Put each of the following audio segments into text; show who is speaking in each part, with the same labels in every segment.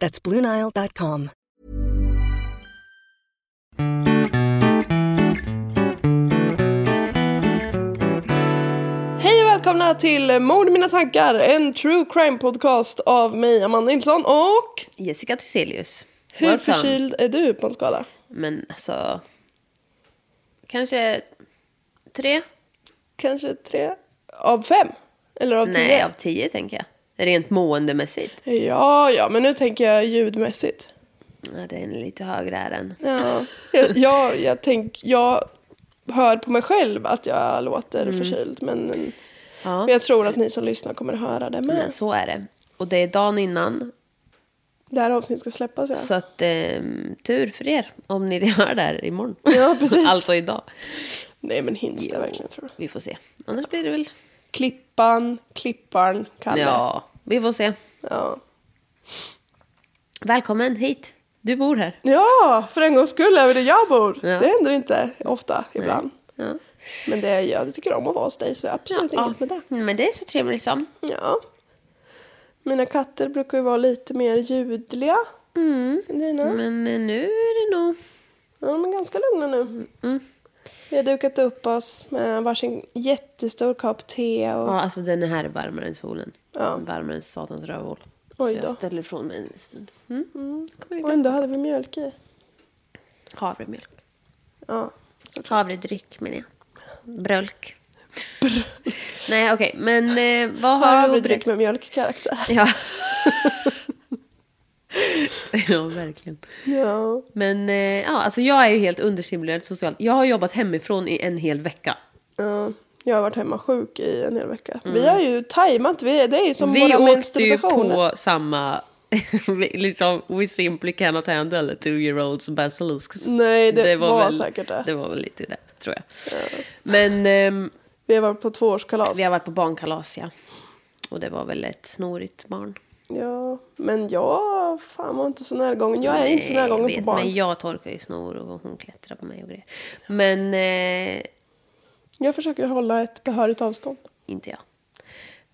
Speaker 1: That's BlueNile.com.
Speaker 2: Hej och välkomna till Mord i mina tankar, en true crime podcast av mig Amanda Nilsson och
Speaker 3: Jessica Thyselius.
Speaker 2: hur
Speaker 3: Welcome.
Speaker 2: förkyld är du på en skala?
Speaker 3: Men alltså... Kanske tre?
Speaker 2: Kanske tre av fem? Eller av
Speaker 3: Nej,
Speaker 2: tio?
Speaker 3: av tio tänker jag. Rent måendemässigt.
Speaker 2: Ja, ja, men nu tänker jag ljudmässigt.
Speaker 3: Ja, det är lite högre här än.
Speaker 2: Ja, jag, jag, jag, tänk, jag hör på mig själv att jag låter förkyld, men, men
Speaker 3: Mm. Ja,
Speaker 2: jag tror att ni som lyssnar kommer höra det med.
Speaker 3: men så är det. Och det är dagen innan.
Speaker 2: Det här avsnittet ska släppas, ja.
Speaker 3: Så att eh, tur för er om ni hör det här imorgon.
Speaker 2: Ja, precis.
Speaker 3: alltså idag.
Speaker 2: Nej, men hinns det
Speaker 3: Jo.
Speaker 2: verkligen, tror du?
Speaker 3: Vi får se. Annars blir det väl...
Speaker 2: Klippan, klipparn, Kalle.
Speaker 3: Ja, vi får se.
Speaker 2: Ja.
Speaker 3: Välkommen hit. Du bor här.
Speaker 2: Ja, för en gångs skull över där jag bor.
Speaker 3: Ja.
Speaker 2: Det händer inte ofta ibland.
Speaker 3: Ja.
Speaker 2: Men det, jag tycker om att vara hos dig så jag har absolut inget med det.
Speaker 3: Men det är så trevligt som.
Speaker 2: Ja. Mina katter brukar ju vara lite mer ljudliga.
Speaker 3: Mm.
Speaker 2: än Dina.
Speaker 3: Men eh, nu är det nog...
Speaker 2: Ja, de är ganska lugna
Speaker 3: Mm,
Speaker 2: nu. Vi har dukat upp oss med varsin jättestor kopp te och
Speaker 3: Ja, alltså den här är varmare än solen.
Speaker 2: Ja.
Speaker 3: Varmare än satans rövhål.
Speaker 2: Oj
Speaker 3: så
Speaker 2: då.
Speaker 3: jag ställer ifrån mig en stund. Mm. Kommer
Speaker 2: Och
Speaker 3: vi
Speaker 2: ändå hade vi mjölk i.
Speaker 3: Havremjölk.
Speaker 2: Ja.
Speaker 3: Havredryck menar jag. Brölk. Nej okej, men eh, vad har
Speaker 2: Havredryck
Speaker 3: du
Speaker 2: med mjölkkaraktär.
Speaker 3: Ja. ja, verkligen.
Speaker 2: Ja.
Speaker 3: Men eh, ja, alltså jag är ju helt understimulerad socialt. Jag har jobbat hemifrån i en hel vecka.
Speaker 2: Ja, jag har varit hemma sjuk i en hel vecka. Vi har ju tajmat, vi, det är ju som
Speaker 3: Mm. vi
Speaker 2: våra
Speaker 3: åkte ju
Speaker 2: menstruationer.
Speaker 3: på samma... vi- liksom, we simply cannot handle a two-year-olds basilisks.
Speaker 2: Nej, det var säkert det.
Speaker 3: Det var väl lite det, tror jag. Men ehm,
Speaker 2: Vi har varit på tvåårskalas.
Speaker 3: vi har varit på barnkalas, ja. Och det var väl ett snorigt barn.
Speaker 2: Ja, men jag fan var inte så närgången. Jag är inte så närgången
Speaker 3: jag
Speaker 2: på
Speaker 3: vet,
Speaker 2: barn.
Speaker 3: Men
Speaker 2: Jag...
Speaker 3: jag torkar ju snor och hon klättrar på mig och grejer. Men eh,
Speaker 2: försöker hålla ett behörigt avstånd.
Speaker 3: inte jag.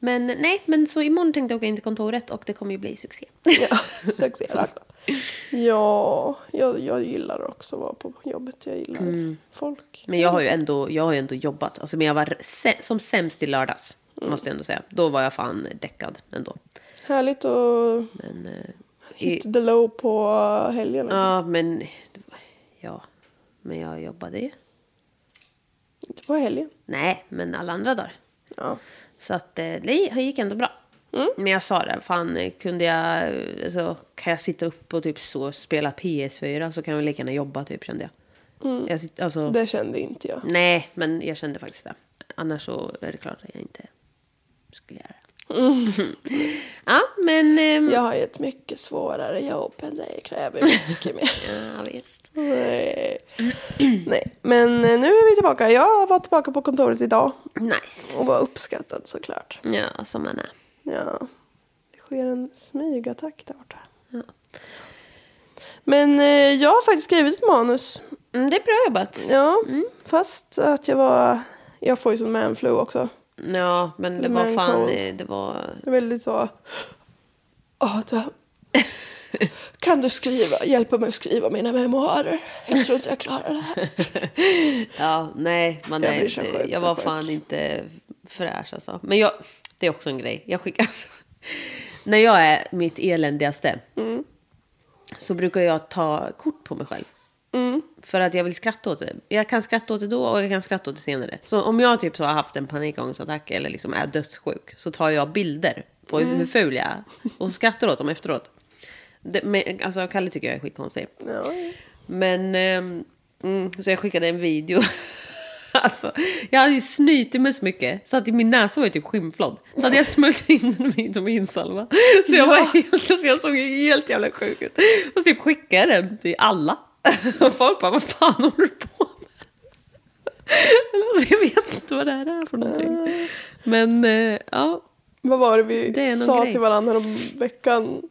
Speaker 3: Men nej, men så imorgon tänkte jag åka in till kontoret och det kommer ju bli succé.
Speaker 2: Ja, så exakt. Ja, jag, jag gillar också att vara på jobbet. Jag gillar folk.
Speaker 3: Mm. Men jag har ju
Speaker 2: Mm.
Speaker 3: ändå, jag har ju ändå jobbat. Alltså, men jag var se- som sämst i lördags,
Speaker 2: Mm.
Speaker 3: måste jag ändå säga. Då var jag fan däckad ändå.
Speaker 2: Härligt att
Speaker 3: Men, eh, i,
Speaker 2: hit the low på helgen.
Speaker 3: ja, men, ja, men jag jobbade ju.
Speaker 2: Inte på helgen.
Speaker 3: Nej, men alla andra dagar.
Speaker 2: Ja.
Speaker 3: Så att eh, det gick ändå bra.
Speaker 2: Mm.
Speaker 3: Men jag sa det, fan eh, kunde jag, eh, alltså, kan jag sitta upp och typ så spela PS4 så kan jag lika gärna jobba typ kände jag. jag sitt, alltså,
Speaker 2: Mm. Det kände inte jag.
Speaker 3: Nej, men jag kände faktiskt det. Annars så är det klart att jag inte skulle göra det. ja, men... ehm,
Speaker 2: Jag har ju ett mycket svårare jobb än dig. Kräver mycket mer.
Speaker 3: ja, visst.
Speaker 2: Nej. Nej, men eh, nu är vi tillbaka. Jag var tillbaka på kontoret idag
Speaker 3: Nice.
Speaker 2: och var uppskattad såklart.
Speaker 3: Ja, som man är.
Speaker 2: Ja, det sker en smygattack där borta. Men eh, jag har faktiskt skrivit ett manus.
Speaker 3: Mm, det är bra jobbat.
Speaker 2: Ja, fast att jag var... Jag får ju sån manflu också.
Speaker 3: Ja, men det var
Speaker 2: Men
Speaker 3: fan...
Speaker 2: coolt.
Speaker 3: eh, Det var...
Speaker 2: Det är väldigt så... Adam, kan du skriva, hjälpa mig att skriva mina memoarer? Jag tror inte jag klarar det här.
Speaker 3: Ja, nej, man
Speaker 2: Jag
Speaker 3: är
Speaker 2: blir så
Speaker 3: inte,
Speaker 2: sjuk,
Speaker 3: jag
Speaker 2: så
Speaker 3: var
Speaker 2: sjuk.
Speaker 3: fan inte fräsch alltså. Men jag, det är också en grej. Jag skickar alltså, När jag är mitt eländigaste
Speaker 2: Mm.
Speaker 3: så brukar jag ta kort på mig själv.
Speaker 2: Mm.
Speaker 3: För att jag vill skratta åt det. Jag kan skratta åt det då och jag kan skratta åt det senare. Så om jag typ så har haft en panikångestattack eller liksom är dödssjuk så tar jag bilder på
Speaker 2: Mm.
Speaker 3: hur- hur ful jag är och skrattar åt dem efteråt. Det, men, alltså Kalle tycker jag är skitkonstig. Men, ehm, mm, så jag skickade en video. alltså, jag hade ju snytit mig så mycket så att min näsa var ju typ skymflad. Så hade jag smörjt in den med som insalva. Så jag, var helt, så jag såg ju helt jävla sjuk ut. Och typ skickade den till alla. Och folk bara, vad fan håller du på med? Men Alltså, jag vet inte vad det här är för någonting. Men eh, ja,
Speaker 2: Vad var det vi
Speaker 3: Det är någon
Speaker 2: sa
Speaker 3: grej.
Speaker 2: till varandra om veckan?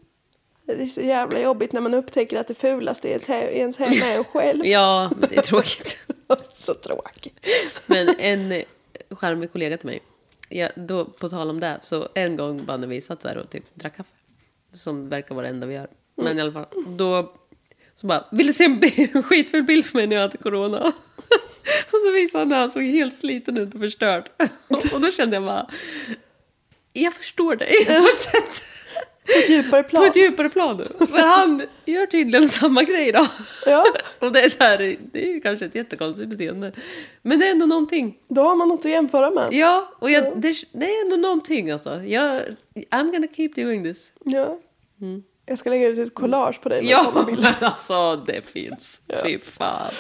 Speaker 2: Det är så jävla jobbigt när man upptäcker att det fulaste i ett he- i ens hem är en själv.
Speaker 3: ja det är tråkigt.
Speaker 2: Så tråkigt.
Speaker 3: Men en charmig kollega till mig, ja, då, på tal om det, så en gång bara när vi satt så här och typ drack kaffe, som verkar vara det enda vi
Speaker 2: Mm.
Speaker 3: gör, men i alla fall, då så bara, vill du se en, bi- en skitful bild på mig när jag hade corona? Och så visade han när han såg helt sliten ut och förstörd. Och då kände jag bara, jag förstår dig på ett sätt.
Speaker 2: På ett djupare plan.
Speaker 3: På ett djupare plan. För han gör tydligen samma grej då.
Speaker 2: Ja.
Speaker 3: Och det är, så här, det är ju kanske ett jättekonstigt beteende. Men det är ändå någonting.
Speaker 2: Då har man något att jämföra med.
Speaker 3: Ja, och jag, det, det är ändå någonting alltså. Jag, I'm gonna keep doing this.
Speaker 2: Ja. Jag ska lägga ut ett collage på dig med
Speaker 3: Mm. Ja,
Speaker 2: såna bilder.
Speaker 3: men alltså det finns. Fy fan.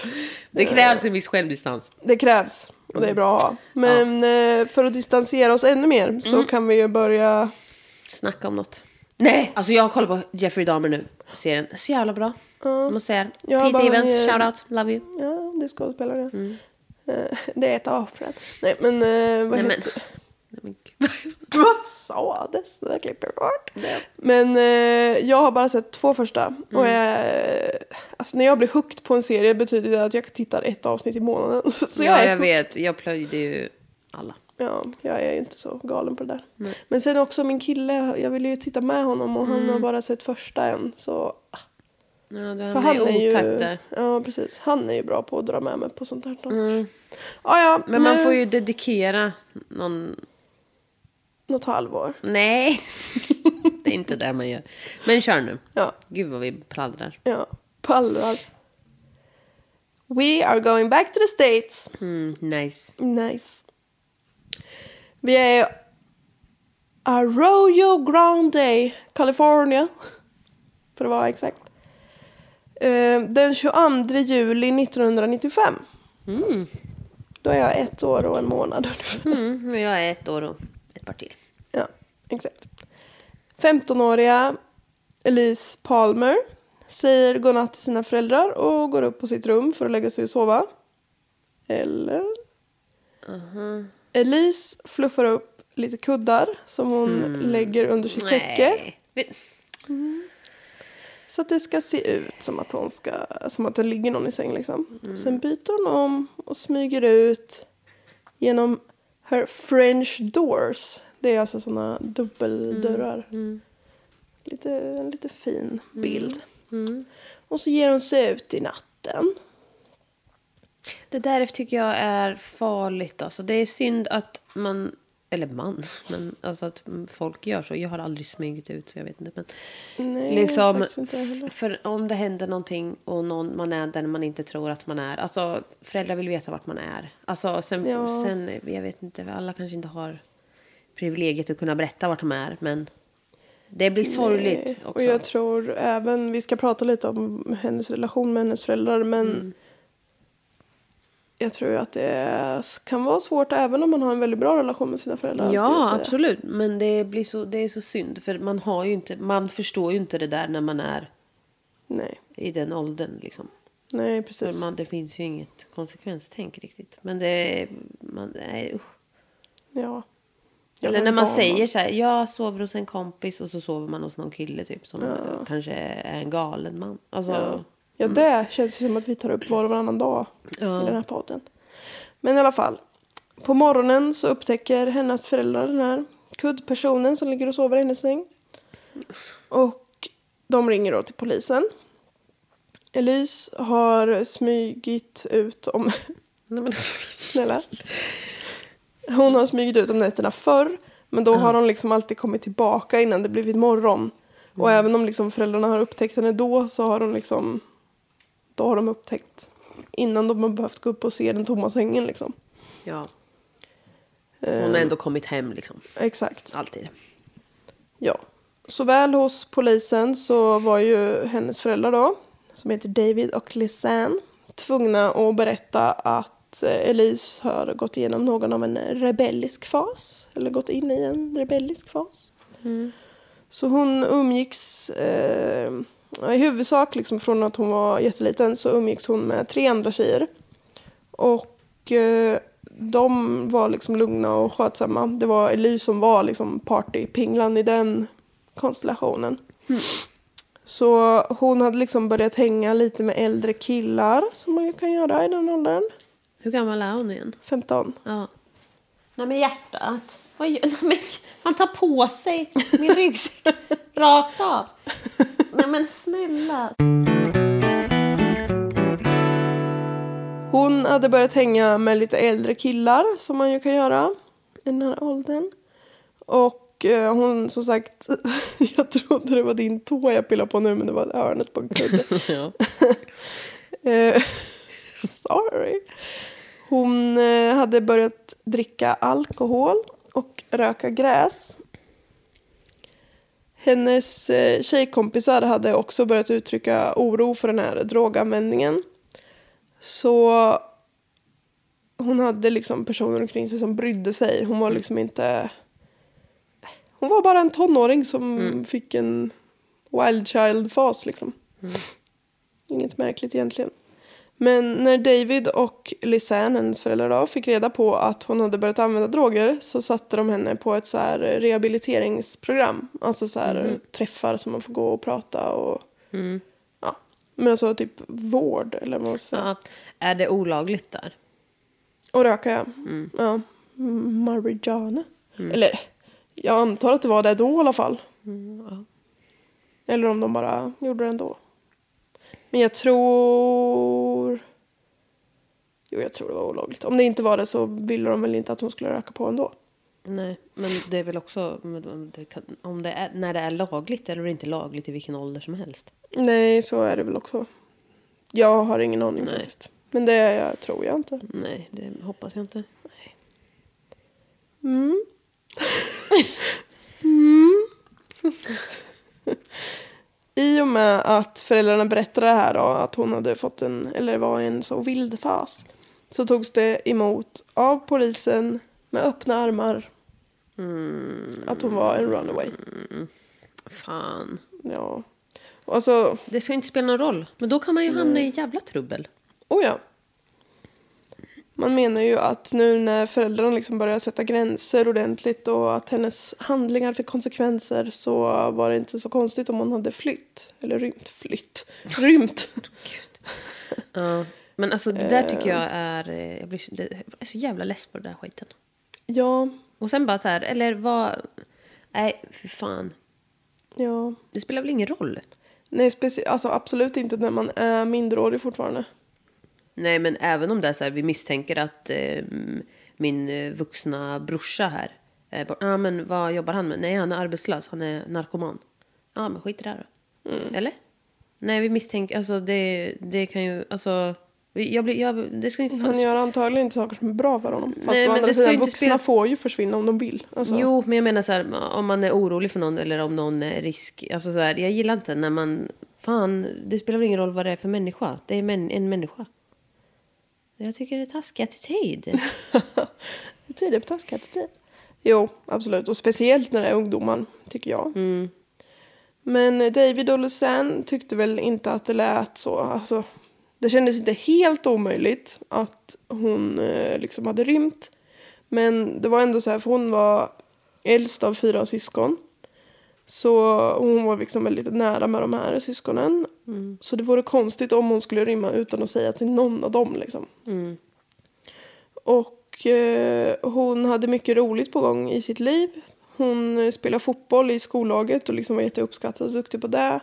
Speaker 3: Det krävs en viss självdistans.
Speaker 2: Det krävs och det är bra att ha. Men eh, för att distansera oss ännu mer
Speaker 3: Mm.
Speaker 2: så kan vi ju börja...
Speaker 3: Snacka om något. Nej, alltså jag kollar på Jeffrey Dahmer nu. Serien. Så jävla bra. Måste säga det.
Speaker 2: Ja,
Speaker 3: Pete
Speaker 2: vad han
Speaker 3: Evans,
Speaker 2: är-
Speaker 3: shoutout, love you.
Speaker 2: Ja, det är skådespelare.
Speaker 3: Mm.
Speaker 2: Eh, det är ett avfred. Nej, men eh, vad
Speaker 3: Nej men.
Speaker 2: heter...
Speaker 3: Nej, men gud.
Speaker 2: Vad sades? Det där klipper vi bort. Men eh, jag har bara sett två första. Och
Speaker 3: Mm.
Speaker 2: jag, alltså, när jag blir hooked på en serie betyder det att jag tittar ett avsnitt i månaden. Så jag
Speaker 3: ja,
Speaker 2: är
Speaker 3: jag vet. Jag plöjde ju alla.
Speaker 2: Ja, jag är ju inte så galen på det där. Men sen också min kille, jag ville ju titta med honom och han har bara sett första än. Så,
Speaker 3: Mm. Ja, du
Speaker 2: så
Speaker 3: hamnade
Speaker 2: han
Speaker 3: i
Speaker 2: är
Speaker 3: otakt
Speaker 2: ju...
Speaker 3: där.
Speaker 2: Ja, precis. Han är ju bra på att dra med mig på sånt här. Mm. Ja, ja.
Speaker 3: Men man
Speaker 2: nu-
Speaker 3: får ju dedikera någon
Speaker 2: Något halvår.
Speaker 3: Nej, det är inte det man gör. Men kör nu.
Speaker 2: Ja,
Speaker 3: Gud vad vi pladdrar.
Speaker 2: ja. Pallar. We are going back to the States.
Speaker 3: Mm, nice.
Speaker 2: Nice. Vi är i Arroyo Grande, California. För att vara exakt. Eh, Den 22 juli 1995. Då är jag ett år och en månad ungefär.
Speaker 3: Mm, och jag är ett år och ett par till.
Speaker 2: Ja, exakt. 15-åriga Elise Palmer säger godnatt till sina föräldrar och går upp på sitt rum för att lägga sig och sova. Eller? Elise fluffar upp lite kuddar som hon lägger under sitt täcke.
Speaker 3: Vi-
Speaker 2: Så att det ska se ut som att, hon ska, som att det ligger någon i säng liksom. Sen byter hon om och smyger ut genom her French doors. Det är alltså sådana dubbeldörrar. Lite, en lite fin bild. Och så ger hon sig ut i natten.
Speaker 3: Det där tycker jag är farligt. Alltså, det är synd att man... Eller man, men alltså att folk gör så. Jag har aldrig smugit ut så jag vet inte. Men
Speaker 2: Nej,
Speaker 3: liksom,
Speaker 2: faktiskt inte jag heller.
Speaker 3: för om det händer någonting och någon, man är där man inte tror att man är. Alltså föräldrar vill veta vart man är. Alltså sen,
Speaker 2: Ja.
Speaker 3: sen jag vet inte, alla kanske inte har privilegiet att kunna berätta vart de är. Men det blir sorgligt
Speaker 2: Nej, Och
Speaker 3: också.
Speaker 2: jag tror även, vi ska prata lite om hennes relation med hennes föräldrar men
Speaker 3: Mm.
Speaker 2: jag tror ju att det är- kan vara svårt även om man har en väldigt bra relation med sina föräldrar. alltid att
Speaker 3: Ja,
Speaker 2: säga.
Speaker 3: absolut. Men det, blir så, det är så synd. För man, har ju inte, man förstår ju inte det där när man är
Speaker 2: Nej,
Speaker 3: i den åldern. Liksom.
Speaker 2: nej
Speaker 3: För
Speaker 2: precis.
Speaker 3: man, det finns ju inget konsekvenstänk riktigt. Men det är... Man, nej, usch.
Speaker 2: Ja. Jag
Speaker 3: Eller
Speaker 2: var
Speaker 3: när man
Speaker 2: van
Speaker 3: säger
Speaker 2: att-
Speaker 3: så här, jag sover hos en kompis och så sover man hos någon kille typ som eh, kanske är en galen man. Alltså,
Speaker 2: Ja, ja det känns ju som att vi tar upp var och varannan dag i den här podden. Men i alla fall. På morgonen så upptäcker hennes föräldrar den här kuddpersonen som ligger och sover i hennes säng. Och de ringer då till polisen. Elise har smygit ut om...
Speaker 3: Nej, men,
Speaker 2: Snälla. Hon har smugit ut om nätterna förr. Men då har hon liksom alltid kommit tillbaka innan det blivit morgon. Och även om liksom föräldrarna har upptäckt henne då så har de liksom... Då har de upptäckt innan de har behövt gå upp och se den tomma sängen liksom.
Speaker 3: ja.
Speaker 2: Eh.
Speaker 3: Hon har ändå kommit hem liksom.
Speaker 2: Exakt.
Speaker 3: Alltid.
Speaker 2: Ja. Såväl hos polisen så var ju hennes föräldrar då, som heter David och Lisanne, tvungna att berätta att eh, Elise har gått igenom någon av en rebellisk fas. Eller gått in i en rebellisk fas. Så hon umgicks, eh, i huvudsak liksom från att hon var jätteliten, så umgicks hon med tre andra tjejer. Och eh, de var liksom lugna och skötsamma. Det var Elise som var liksom partypinglan i den konstellationen. Så hon hade liksom börjat hänga lite med äldre killar som man ju kan göra i den åldern.
Speaker 3: Hur gammal är hon igen?
Speaker 2: 15.
Speaker 3: Ja. Nej men hjärtat. Vad gör- Nej, men, han tar på sig min ryggsäck rakt av. Nej men snälla.
Speaker 2: Hon hade börjat hänga med lite äldre killar som man ju kan göra i den här åldern. Och eh, hon som sagt, jag trodde det var din tå jag pillade på nu men det var hörnet på en kudde.
Speaker 3: Ja.
Speaker 2: Eh, Sorry. Hon eh, hade börjat dricka alkohol och röka gräs. Hennes eh, tjejkompisar hade också börjat uttrycka oro för den här droganvändningen. Så hon hade liksom personer omkring sig som brydde sig. Hon var liksom inte... Hon var bara en tonåring som fick en wild child-fas liksom. Inget märkligt egentligen. Men när David och Lisanne, hennes föräldrar då, fick reda på att hon hade börjat använda droger så satte de henne på ett så här rehabiliteringsprogram. Alltså så här träffar som man får gå och prata och ja. Men alltså typ vård eller vad man ska säga.
Speaker 3: ja. Är det olagligt där?
Speaker 2: Och röka ja. ja. Mm, Marijuana. Eller jag antar att det var det då i alla fall. Eller om de bara gjorde det ändå. Men jag tror... Jo, jag tror det var olagligt. Om det inte var det så ville de väl inte att hon skulle röka på ändå.
Speaker 3: Nej, men det är väl också men det kan- om det är, när det är lagligt eller inte lagligt i vilken ålder som helst.
Speaker 2: Nej, så är det väl också. Jag har ingen aning
Speaker 3: Nej.
Speaker 2: faktiskt. Men det jag tror jag inte.
Speaker 3: Nej, det hoppas jag inte.
Speaker 2: I och med att föräldrarna berättade det här då, att hon hade fått en, eller var i en så vild fas, så togs det emot av polisen med öppna armar att hon var en runaway.
Speaker 3: Fan.
Speaker 2: Ja. Och alltså,
Speaker 3: Det ska ju inte spela någon roll. Men då kan man ju hamna i jävla trubbel.
Speaker 2: oh ja. Man menar ju att nu när föräldrarna liksom började sätta gränser ordentligt och att hennes handlingar fick konsekvenser så var det inte så konstigt om hon hade flytt. Eller rymt. Flytt. Rymt.
Speaker 3: Ja. Men alltså det där tycker jag är... eh, Jag blir så- det- jag är så jävla less på den där skiten.
Speaker 2: ja.
Speaker 3: Och sen bara så här, eller vad... Nej, för fan.
Speaker 2: Ja.
Speaker 3: Det spelar väl ingen roll?
Speaker 2: Nej, speci- alltså absolut inte när man är minderårig fortfarande.
Speaker 3: Nej, men även om det är så här, vi misstänker att eh, min eh, vuxna brorsa här... eh, bara, Ja, men vad jobbar han med? Nej, han är arbetslös. Han är narkoman. Ja, men skit i det här då. Eller? Nej, vi misstänker... Alltså det, det kan ju... Alltså... vi- Jag blir, jag, det ska ju inte
Speaker 2: Han
Speaker 3: fan-
Speaker 2: gör antagligen inte saker som är bra för honom. Fast
Speaker 3: Mm. Nej,
Speaker 2: å
Speaker 3: men
Speaker 2: andra
Speaker 3: det ska
Speaker 2: sidan,
Speaker 3: ju inte
Speaker 2: vuxna
Speaker 3: spela-
Speaker 2: får ju försvinna om de vill. Alltså,
Speaker 3: Jo, men jag menar så här, om man är orolig för någon eller om någon är risk... Alltså så här, jag gillar inte när man... Fan, det spelar väl ingen roll vad det är för människa. Det är män, en människa. Jag tycker det är taskig attityd.
Speaker 2: Det är tidigt på taskig attityd. Jo, absolut. Och speciellt när det är ungdomar, tycker jag. Men David och Lucen tyckte väl inte att det lät så. Alltså, det kändes inte helt omöjligt att hon eh, liksom hade rymt. Men det var ändå så här, för hon var äldst av fyra syskon. Så hon var liksom väldigt nära med de här syskonen. Så det vore konstigt om hon skulle rymma utan att säga till någon av dem. Liksom. Och eh, hon hade mycket roligt på gång i sitt liv. Hon eh, spelade fotboll i skollaget och liksom var jätteuppskattad och duktig på det.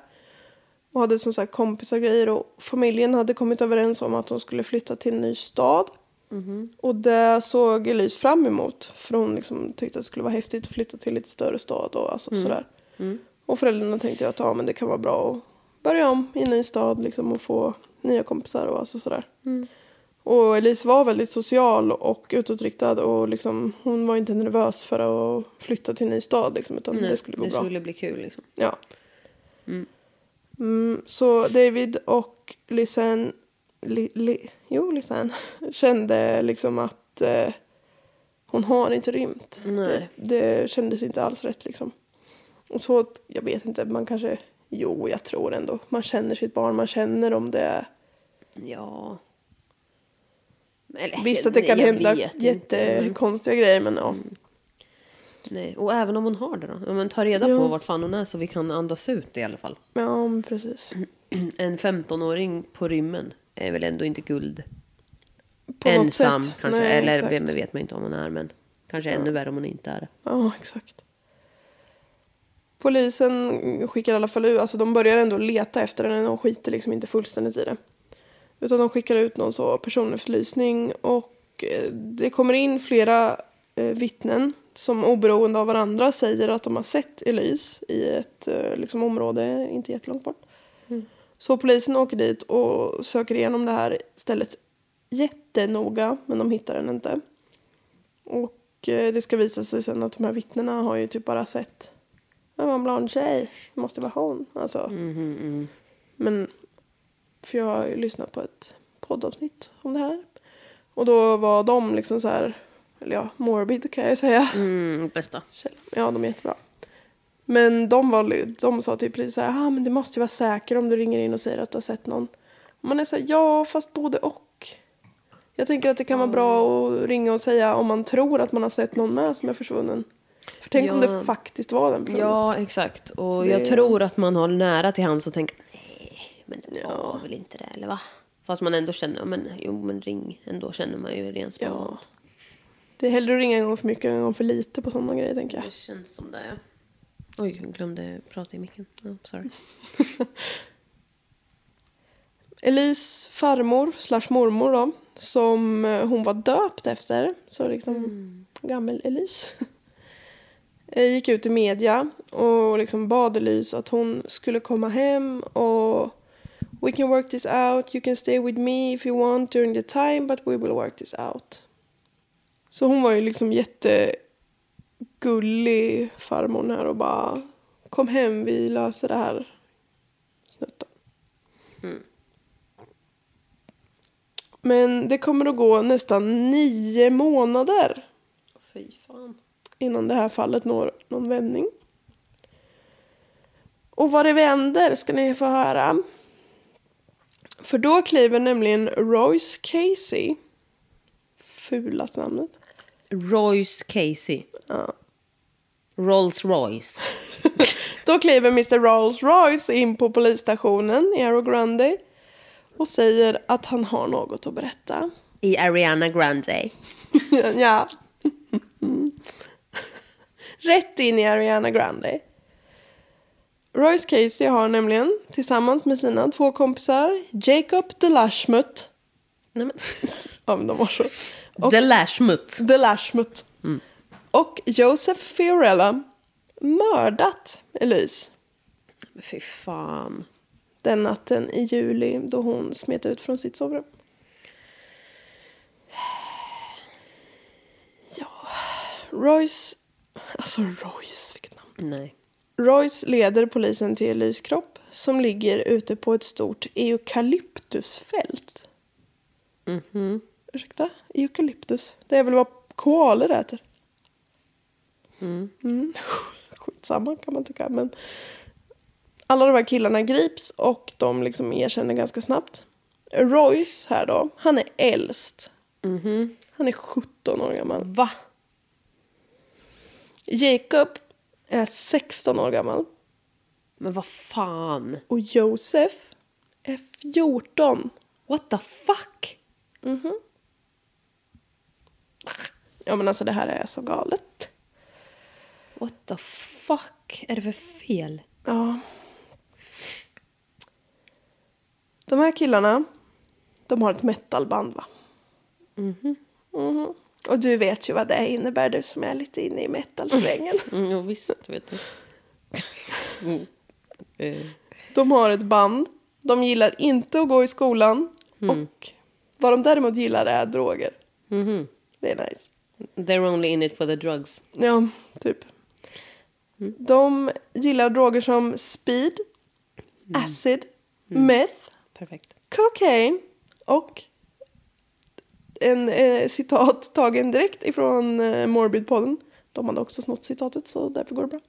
Speaker 2: Och hade som sagt kompisar och grejer. Och familjen hade kommit överens om att hon skulle flytta till en ny stad.
Speaker 3: Mm-hmm.
Speaker 2: Och det såg Elise fram emot. För hon liksom tyckte att det skulle vara häftigt att flytta till lite större stad och
Speaker 3: Mm.
Speaker 2: alltså sådär. Och föräldrarna tänkte ju att ja, men det kan vara bra att börja om i en ny stad liksom, och få nya kompisar och alltså sådär.
Speaker 3: Mm.
Speaker 2: Och Elise var väldigt social och utåtriktad och liksom, hon var inte nervös för att flytta till en ny stad liksom, utan det skulle gå
Speaker 3: det
Speaker 2: bra.
Speaker 3: skulle bli kul liksom.
Speaker 2: Ja. Mm, så David och Lisanne, li, li, jo Lisanne, kände liksom att eh, hon har inte rymt.
Speaker 3: Nej.
Speaker 2: Det, det kändes inte alls rätt liksom. Och så, att- jag vet inte, man kanske, jo jag tror ändå, man känner sitt barn, man känner om det är
Speaker 3: Ja. Eller,
Speaker 2: Visst att det
Speaker 3: Eh, nej,
Speaker 2: kan
Speaker 3: jag
Speaker 2: hända
Speaker 3: vet inte, Mm. men-
Speaker 2: jättekonstiga grejer men ja.
Speaker 3: Nej. Och även om hon har det då. Ja, men ta reda
Speaker 2: Ja.
Speaker 3: på vart fan hon är så vi kan andas ut i alla fall.
Speaker 2: Ja men precis.
Speaker 3: En 15-åring på rymmen är väl ändå inte guld.
Speaker 2: På något
Speaker 3: Ensam
Speaker 2: sätt.
Speaker 3: kanske.
Speaker 2: Nej,
Speaker 3: Eller
Speaker 2: exakt.
Speaker 3: vem vet man inte om hon är. Men kanske ännu värre om hon inte är det.
Speaker 2: Ja, exakt. Polisen skickar i alla fall ut, alltså de börjar ändå leta efter henne, de skiter liksom inte fullständigt i det. Utan de skickar ut någon så personefterlysning och eh, det kommer in flera eh, vittnen som oberoende av varandra säger att de har sett Elise i ett eh, liksom, område inte jättelångt bort. Så polisen åker dit och söker igenom det här stället jättenoga men de hittar den inte. Och eh, det ska visa sig sen att de här vittnena har ju typ bara sett det var en blond tjej, det måste vara hon. Alltså. Men för jag har ju lyssnat på ett poddavsnitt om det här. Och då var de liksom så här, eller ja, morbid kan jag ju säga.
Speaker 3: Mm, bästa.
Speaker 2: Källa. Ja, de är jättebra. Men de, var, de sa typ lite så här, ah, men du måste ju vara säker om du ringer in och säger att du har sett någon. Och man är så här, ja, fast både och. Jag tänker att det kan vara bra att ringa och säga om man tror att man har sett någon med som är försvunnen. För tänk om
Speaker 3: Ja.
Speaker 2: det faktiskt var den personen.
Speaker 3: Ja, exakt. Och
Speaker 2: det-
Speaker 3: jag tror att man har nära till hans och tänker nej, men det var väl inte det, eller va? Fast man ändå känner, ja, men jo men ring, ändå känner man ju rent
Speaker 2: ja.
Speaker 3: spontant.
Speaker 2: Det är hellre att ringa en gång för mycket än en gång för lite på sådana grejer tänker jag.
Speaker 3: Det känns som det, ja. Oj, jag glömde prata i micken. Ja, sorry.
Speaker 2: Elise farmor slash mormor då, som eh, hon var döpt efter, så liksom gammel Elise, eh, gick ut i media och liksom bad Elise att hon skulle komma hem och We can work this out, you can stay with me if you want during the time but we will work this out. Så hon var ju liksom jättegullig farmor här och bara kom hem, vi löser det här. Snuttan. Men det kommer att gå nästan nio månader
Speaker 3: Fy fan.
Speaker 2: innan det här fallet når någon vändning. Och vad det vänder ska ni få höra. För då kliver nämligen Royce Casey, fulast namnet,
Speaker 3: Royce Casey.
Speaker 2: Ja.
Speaker 3: Rolls Royce.
Speaker 2: Då kliver Mr Rolls Royce in på polisstationen i Aro Grande och säger att han har något att berätta.
Speaker 3: I Ariana Grande.
Speaker 2: ja. Rätt in i Ariana Grande. Royce Casey har nämligen tillsammans med sina två kompisar Jacob DeLashmut.
Speaker 3: Nej, men.
Speaker 2: Ja, men de var så. Och
Speaker 3: The Lashmut.
Speaker 2: DeLashmut.
Speaker 3: Mm.
Speaker 2: Och Joseph Fiorella mördat Elise
Speaker 3: Fy fan.
Speaker 2: den natten i juli då hon smet ut från sitt sovrum. Ja, Royce... Alltså Royce, vilket namn.
Speaker 3: Nej.
Speaker 2: Royce leder polisen till Elys kropp som ligger ute på ett stort eukalyptusfält. Ursäkta? Eukalyptus? Det är väl vad koalor äter? Mm. Skitsamma kan man tycka. Men alla de här killarna grips och de liksom erkänner ganska snabbt. Royce här då, han är äldst. Han är 17 år gammal.
Speaker 3: Va?
Speaker 2: Jacob är 16 år gammal
Speaker 3: Men vad fan?
Speaker 2: och Josef är 14.
Speaker 3: What the fuck?
Speaker 2: Ja men alltså det här är så galet.
Speaker 3: What the fuck är det för fel?
Speaker 2: Ja. De här killarna, de har ett metalband va? Mhm. Och du vet ju vad det innebär du som är lite inne i metalsvängen.
Speaker 3: Mm, jo, visst, vet du. Mm. Eh,
Speaker 2: De har ett band, de gillar inte att gå i skolan
Speaker 3: Mm.
Speaker 2: och vad de däremot gillar är droger.
Speaker 3: mhm.
Speaker 2: Det är nice.
Speaker 3: They're only in it for the drugs.
Speaker 2: Ja, typ. De gillar droger som speed, acid, meth,
Speaker 3: Perfekt.
Speaker 2: cocaine och en eh, citat tagen direkt ifrån eh, Morbid-podden. De hade också snott citatet så därför går det bra.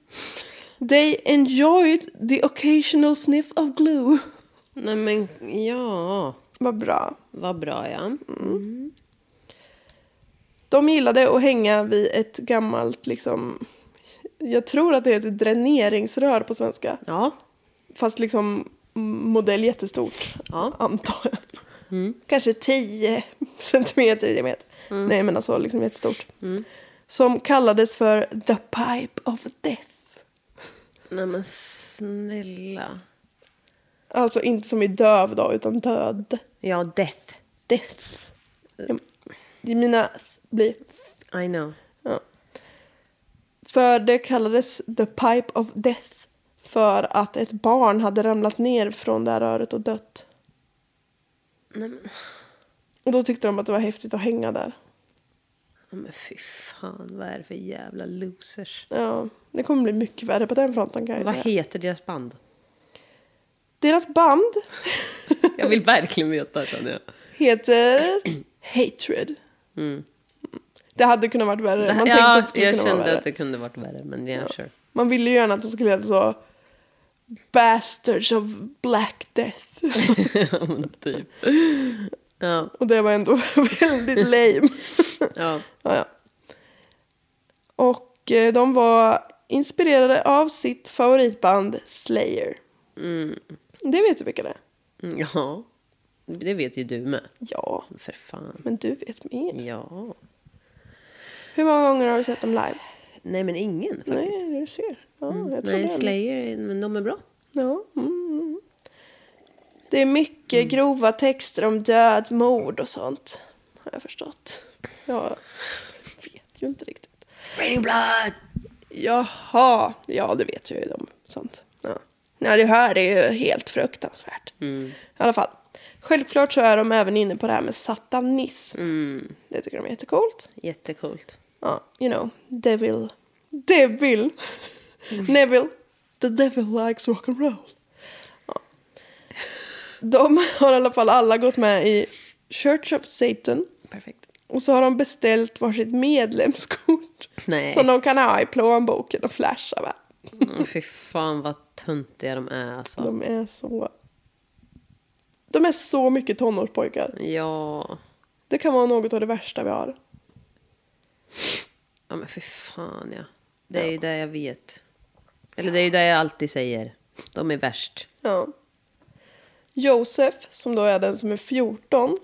Speaker 2: They enjoyed the occasional sniff of glue.
Speaker 3: Nej, men ja.
Speaker 2: Vad bra.
Speaker 3: Vad bra, ja.
Speaker 2: De gillade att hänga vid ett gammalt, liksom, jag tror att det heter dräneringsrör på svenska.
Speaker 3: Ja.
Speaker 2: Fast liksom modell jättestort,
Speaker 3: Ja. Mm.
Speaker 2: antar jag. Kanske 10 centimeter i diameter. Nej, men alltså liksom jättestort.
Speaker 3: Mm.
Speaker 2: Som kallades för The Pipe of Death.
Speaker 3: Nej, men snälla.
Speaker 2: Alltså inte som i döv då, utan död.
Speaker 3: Ja, death.
Speaker 2: Death. Ja, mina blir...
Speaker 3: I know.
Speaker 2: Ja. För det kallades The Pipe of Death. För att ett barn hade ramlat ner från det här röret och dött.
Speaker 3: Nej, men,
Speaker 2: Och då tyckte de att det var häftigt att hänga där.
Speaker 3: nej, men fy fan, vad är det för jävla losers?
Speaker 2: Ja, det kommer bli mycket värre på den fronten kan jag
Speaker 3: Vad
Speaker 2: säga.
Speaker 3: heter deras band?
Speaker 2: Deras band
Speaker 3: Jag vill verkligen veta, känner jag.
Speaker 2: heter Hatred. Det hade kunnat varit värre. Man tänkte
Speaker 3: Mm. ja,
Speaker 2: att det skulle
Speaker 3: jag
Speaker 2: kunna vara
Speaker 3: kände
Speaker 2: värre.
Speaker 3: att det kunde varit värre, men ja, sure.
Speaker 2: Man ville ju gärna att de skulle heta så Bastards of Black Death.
Speaker 3: Ja, men typ. Ja,
Speaker 2: Och det var ändå väldigt lame.
Speaker 3: ja.
Speaker 2: Ja, ja. Och eh, de var inspirerade av sitt favoritband Slayer.
Speaker 3: Mm.
Speaker 2: Det vet du vilka det är?
Speaker 3: Ja, det vet ju du med.
Speaker 2: Ja,
Speaker 3: För fan.
Speaker 2: men du vet mer.
Speaker 3: Ja.
Speaker 2: Hur många gånger har du sett dem live?
Speaker 3: Nej, men ingen faktiskt. Mm.
Speaker 2: Nej, du ser. Ja, jag tror
Speaker 3: Nej,
Speaker 2: det.
Speaker 3: Slayer, men de är bra.
Speaker 2: Ja. Mm. mm. Det är mycket
Speaker 3: Mm.
Speaker 2: grova texter om död, mord och sånt. Har jag förstått. Jag vet ju inte riktigt.
Speaker 3: Raining blood!
Speaker 2: Jaha, ja det vet jag ju om sånt. Ja. Nej, det här är ju helt fruktansvärt.
Speaker 3: Mm.
Speaker 2: I alla fall. Självklart så är de även inne på det här med satanism.
Speaker 3: Mm.
Speaker 2: Det tycker de är jättecoolt.
Speaker 3: Jättecoolt.
Speaker 2: Ja, you know, devil. Devil! Neville. The devil likes rock'n'roll. Ja. De har i alla fall alla gått med i Church of Satan.
Speaker 3: Perfekt.
Speaker 2: Och så har de beställt varsitt medlemskort.
Speaker 3: Nej.
Speaker 2: Som de kan ha i plånboken och flasha va?
Speaker 3: Mm, fy fan vad töntiga de är alltså.
Speaker 2: De är så... De är så mycket tonårspojkar.
Speaker 3: Ja.
Speaker 2: Det kan vara något av det värsta vi har.
Speaker 3: ja, men fy fan ja. Det är ju det jag vet. Eller det är ju det jag alltid säger. De är värst.
Speaker 2: Ja. Josef, som då är den som är 14,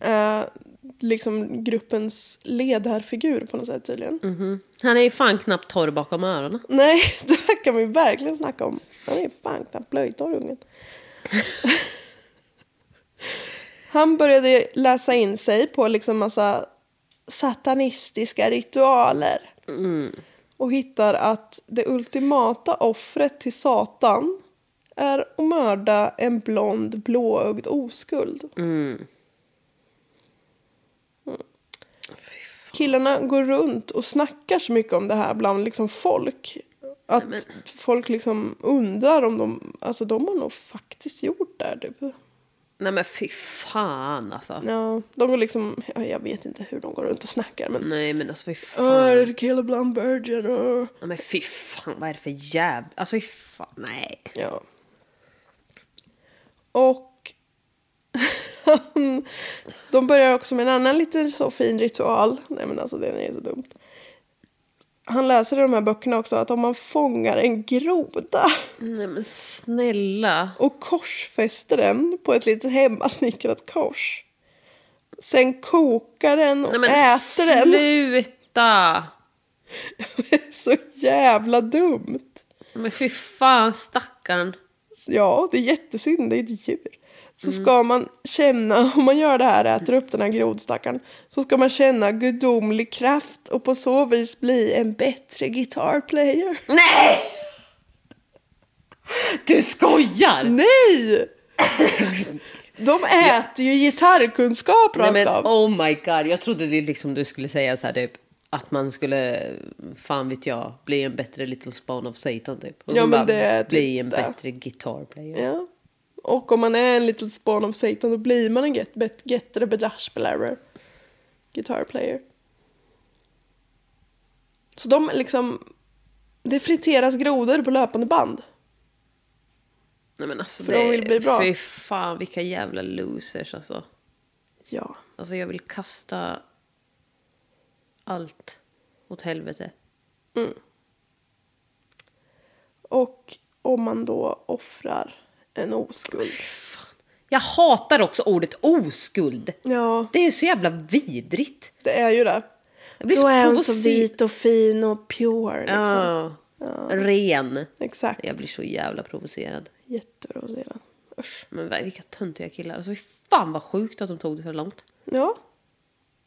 Speaker 2: är liksom gruppens ledarfigur på något sätt tydligen.
Speaker 3: Mhm. Han är ju fan knappt torr bakom öronen.
Speaker 2: Nej, det här kan man ju verkligen snacka om. Han är fan knappt blöjtorr, ungen. Han började läsa in sig på liksom massa satanistiska ritualer. Och hittar att det ultimata offret till Satan är att mörda en blond, blåögd oskuld. killarna går runt och snackar så mycket om det här bland liksom folk. Att folk liksom undrar om de, alltså de har nog faktiskt gjort det här typ.
Speaker 3: Nej men fy fan alltså.
Speaker 2: Ja, de går liksom, ja, jag vet inte hur de går runt och snackar men.
Speaker 3: Nej men alltså fy fan.
Speaker 2: Öh, kill a blonde virgin, öh.
Speaker 3: Ja, men fy fan vad är det för jävla... Alltså fy fan, nej.
Speaker 2: Ja. Och han- de börjar också med en annan liten så fin ritual. Nej men alltså den är så dumt. han läser i de här böckerna också att om man fångar en groda
Speaker 3: Nej men snälla.
Speaker 2: och korsfäster den på ett litet hemmasnickrat kors. Sen kokar den och
Speaker 3: Nej men
Speaker 2: äter den.
Speaker 3: sluta.
Speaker 2: Så jävla dumt.
Speaker 3: Men fy fan stackarn.
Speaker 2: Ja, det är jättesynd, det är ett djur. Så
Speaker 3: Mm.
Speaker 2: ska man känna, om man gör det här, äter upp den här grodstackaren, så ska man känna gudomlig kraft och på så vis bli en bättre gitarrplayer.
Speaker 3: Nej! Du skojar!
Speaker 2: Nej! De äter ju gitarrkunskap
Speaker 3: Nej
Speaker 2: rakt
Speaker 3: men
Speaker 2: av.
Speaker 3: oh my god, jag trodde det liksom du skulle säga så här typ att man skulle, fan vet jag, bli en bättre Little Spawn of Satan typ. Och
Speaker 2: Ja,
Speaker 3: så
Speaker 2: men
Speaker 3: bara
Speaker 2: det är typ
Speaker 3: bli en
Speaker 2: det.
Speaker 3: bättre guitar player.
Speaker 2: Ja. Och om man är en little spawn of Satan då blir man en get, bet, getter bedashbelärare. Guitar player. Så de liksom... Det friteras grodor på löpande band.
Speaker 3: Nej men alltså
Speaker 2: För
Speaker 3: det,
Speaker 2: de vill bli bra.
Speaker 3: fy fan vilka jävla losers alltså.
Speaker 2: Ja.
Speaker 3: Alltså jag vill kasta allt åt helvete.
Speaker 2: Mm. Och om man då offrar en oskuld.
Speaker 3: Jag hatar också ordet oskuld.
Speaker 2: Ja,
Speaker 3: Det är så jävla vidrigt.
Speaker 2: det är ju det.
Speaker 3: Jag blir
Speaker 2: då är hon så
Speaker 3: provocerad.
Speaker 2: vit liksom. och fin och pure. Liksom.
Speaker 3: Ja. Ren.
Speaker 2: Exakt.
Speaker 3: Jag blir så jävla provocerad.
Speaker 2: Jätteprovocerande. Usch.
Speaker 3: Men vad- vilka töntiga killar. Alltså fy fan vad sjukt att de tog det så långt.
Speaker 2: Ja.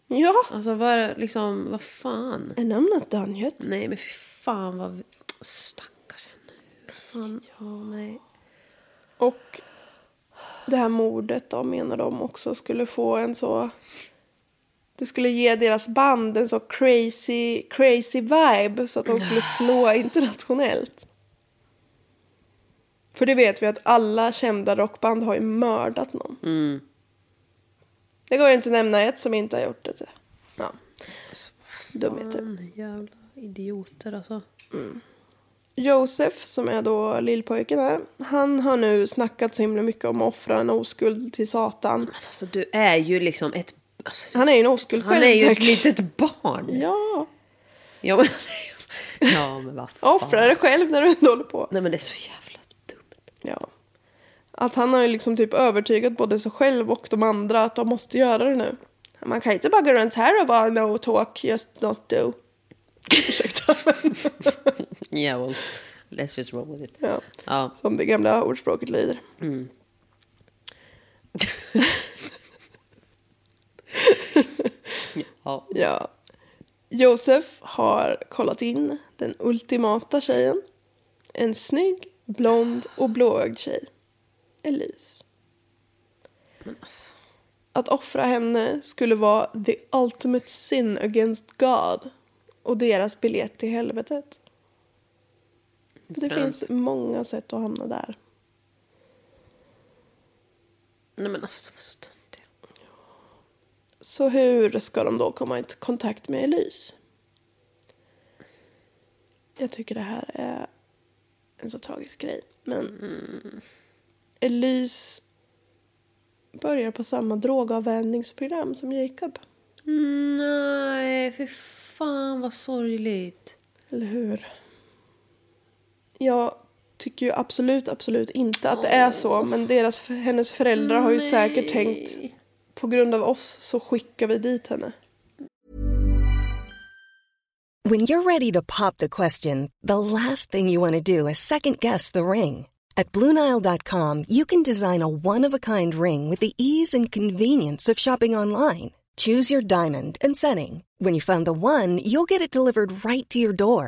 Speaker 2: Ja.
Speaker 3: Alltså vad, liksom, vad fan.
Speaker 2: And I'm not done yet.
Speaker 3: Nej men fy fan vad... Stackars henne. Fan, ja, nej.
Speaker 2: Och det här mordet då menar de också skulle få en så... Det skulle ge deras band en så crazy, crazy vibe så att de skulle slå internationellt. För det vet vi att alla kända rockband har ju mördat någon.
Speaker 3: Mm,
Speaker 2: Det går ju inte att nämna ett som inte har gjort det. Ja. Dumheter.
Speaker 3: Fan, jävla idioter alltså.
Speaker 2: Josef, som är då lillpojken här, han har nu snackat så himla mycket om att offra en oskuld till Satan.
Speaker 3: Men alltså du är ju liksom ett... Alltså,
Speaker 2: Han är ju en oskuld
Speaker 3: han
Speaker 2: själv
Speaker 3: är ju ett
Speaker 2: säkert.
Speaker 3: litet barn.
Speaker 2: Ja,
Speaker 3: Ja men, ja, men vad fan.
Speaker 2: offra dig själv när du ändå håller på.
Speaker 3: Nej men det är så jävla dumt.
Speaker 2: Ja. Att han har ju liksom typ övertygat både sig själv och de andra att de måste göra det nu. Man kan inte bara gå runt här och vara no talk, just not do. Ursäkta. men-
Speaker 3: Yeah well, let's just roll with it.
Speaker 2: ja.
Speaker 3: Ja.
Speaker 2: Som det gamla ordspråket lyder.
Speaker 3: ja.
Speaker 2: Ja. Josef har kollat in den ultimata tjejen. En snygg, blond och blåögd tjej. Elise.
Speaker 3: Men alltså.
Speaker 2: Att offra henne skulle vara the ultimate sin against God och deras biljett till helvetet. Det
Speaker 3: Fränt.
Speaker 2: finns många sätt att hamna där.
Speaker 3: Nej men alltså vad så töntiga.
Speaker 2: Så hur ska de då komma i kontakt med Elise? Jag tycker det här är en så tragisk grej. Men Mm. Elise börjar på samma drogavvänjningsprogram som Jacob.
Speaker 3: Nej, för fan vad sorgligt.
Speaker 2: Eller hur? Jag tycker ju absolut, absolut inte att det är så. Men deras, hennes föräldrar har ju säkert tänkt på grund av oss så skickar vi dit henne.
Speaker 1: When you're ready to pop the question, the last thing you want to do is second guess the ring. At Bluenile.com, you can design a one of a kind ring with the ease and convenience of shopping online. Choose your diamond and setting. When you find the one, you'll get it delivered right to your door.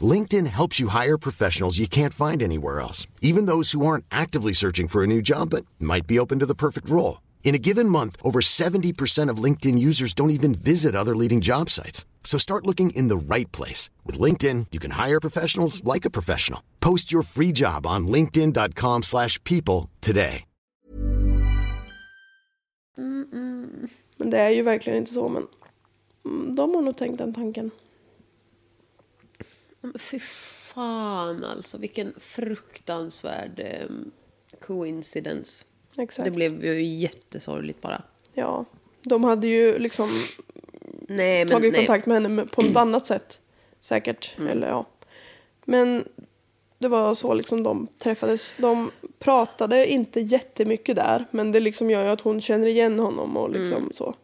Speaker 4: LinkedIn helps you hire professionals you can't find anywhere else, even those who aren't actively searching for a new job but might be open to the perfect role. In a given month, over 70% of LinkedIn users don't even visit other leading job sites. So start looking in the right place. With LinkedIn, you can hire professionals like a professional. Post your free job on linkedin.com/people slash people today.
Speaker 2: Men det är ju verkligen inte så. Men mm, de har nog tänkt den tanken.
Speaker 3: Men fy fan alltså, vilken fruktansvärd eh, coincidence.
Speaker 2: Exakt.
Speaker 3: Det blev ju jättesorgligt bara.
Speaker 2: Ja. De hade ju liksom
Speaker 3: Nej, men
Speaker 2: tagit
Speaker 3: nej. Mm.
Speaker 2: kontakt med henne på något annat sätt. Säkert. Eller, ja. Men det var så liksom de träffades. De pratade inte jättemycket där. Men det liksom gör ju att hon känner igen honom och
Speaker 3: Mm.
Speaker 2: liksom så.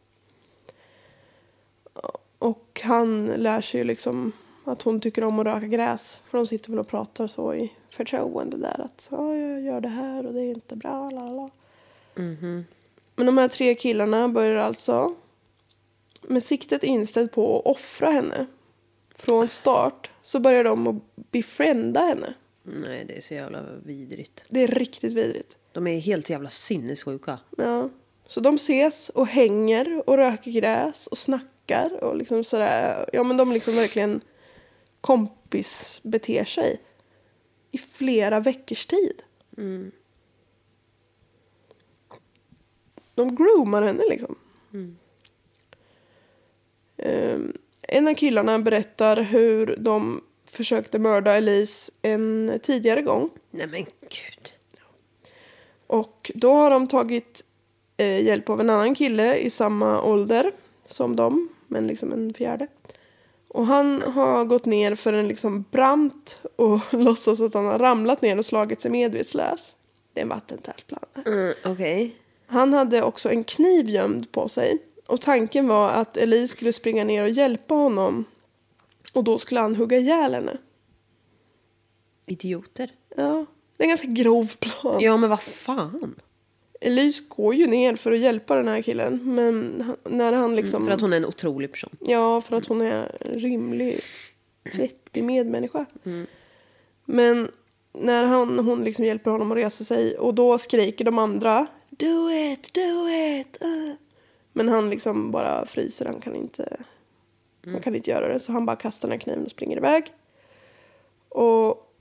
Speaker 2: Och han lär sig ju liksom att hon tycker om att röka gräs. För de sitter väl och pratar så i förtroende där. Att ja, jag gör det här och det är inte bra. La, la, la.
Speaker 3: Mhm.
Speaker 2: Men de här tre killarna börjar alltså med siktet inställt på att offra henne. Från start så börjar de att befrienda henne.
Speaker 3: Nej, det är så jävla vidrigt.
Speaker 2: Det är riktigt vidrigt.
Speaker 3: De är helt jävla sinnessjuka.
Speaker 2: Ja. Så de ses och hänger och röker gräs och snackar och liksom sådär. Ja men de liksom verkligen kompis beter sig. I flera veckors tid. De groomar henne liksom. Ehm, en av killarna berättar hur de försökte mörda Elise en tidigare gång.
Speaker 3: Nej men gud.
Speaker 2: Och då har de tagit eh, hjälp av en annan kille i samma ålder som dem, men liksom en fjärde. Och han har gått ner för en liksom brant och låtsas att han har ramlat ner och slagit sig medvetslös. Det är en vattentät plan.
Speaker 3: Mm, Okej.
Speaker 2: Han hade också en kniv gömd på sig. Och tanken var att Elise skulle springa ner och hjälpa honom. Och då skulle han hugga ihjäl henne.
Speaker 3: Idioter.
Speaker 2: Ja, det är en ganska grov plan.
Speaker 3: Ja men vad fan.
Speaker 2: Elise går ju ner för att hjälpa den här killen. Men han- när han liksom...
Speaker 3: Mm, För att hon är en otrolig person.
Speaker 2: Ja, för att hon är en rimlig, vettig medmänniska.
Speaker 3: Mm.
Speaker 2: Men när han, hon liksom hjälper honom att resa sig och då skriker de andra Do it, do it! uh." Men han liksom bara fryser, han kan inte,
Speaker 3: Mm.
Speaker 2: han kan inte göra det. Så han bara kastar den här kniven och springer iväg. Och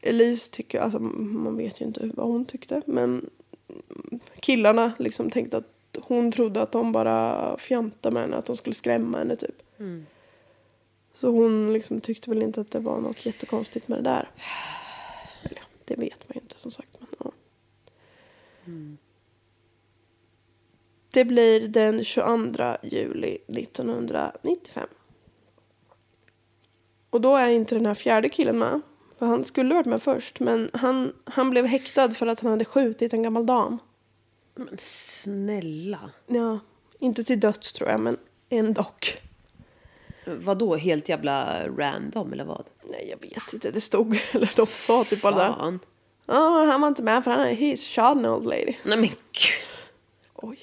Speaker 2: Elise tycker, alltså man vet ju inte vad hon tyckte, men killarna liksom tänkte att hon trodde att de bara fjantade med henne, att de skulle skrämma henne typ. Så hon liksom tyckte väl inte att det var något jättekonstigt med det där. Eller ja, det vet man ju inte som sagt. Men, ja. Det blir den 22 juli 1995. Och då är inte den här fjärde killen med. För han skulle varit med först, men han, han blev häktad för att han hade skjutit en gammal dam.
Speaker 3: Men snälla.
Speaker 2: Ja, inte till döds tror jag, men ändock.
Speaker 3: Vad då helt jävla random eller vad?
Speaker 2: Nej, jag vet inte. Det stod, eller de sa typ bara det.
Speaker 3: Fan.
Speaker 2: Ja, han var inte med för han är he's shot an old lady.
Speaker 3: Nej men gud.
Speaker 2: Oj.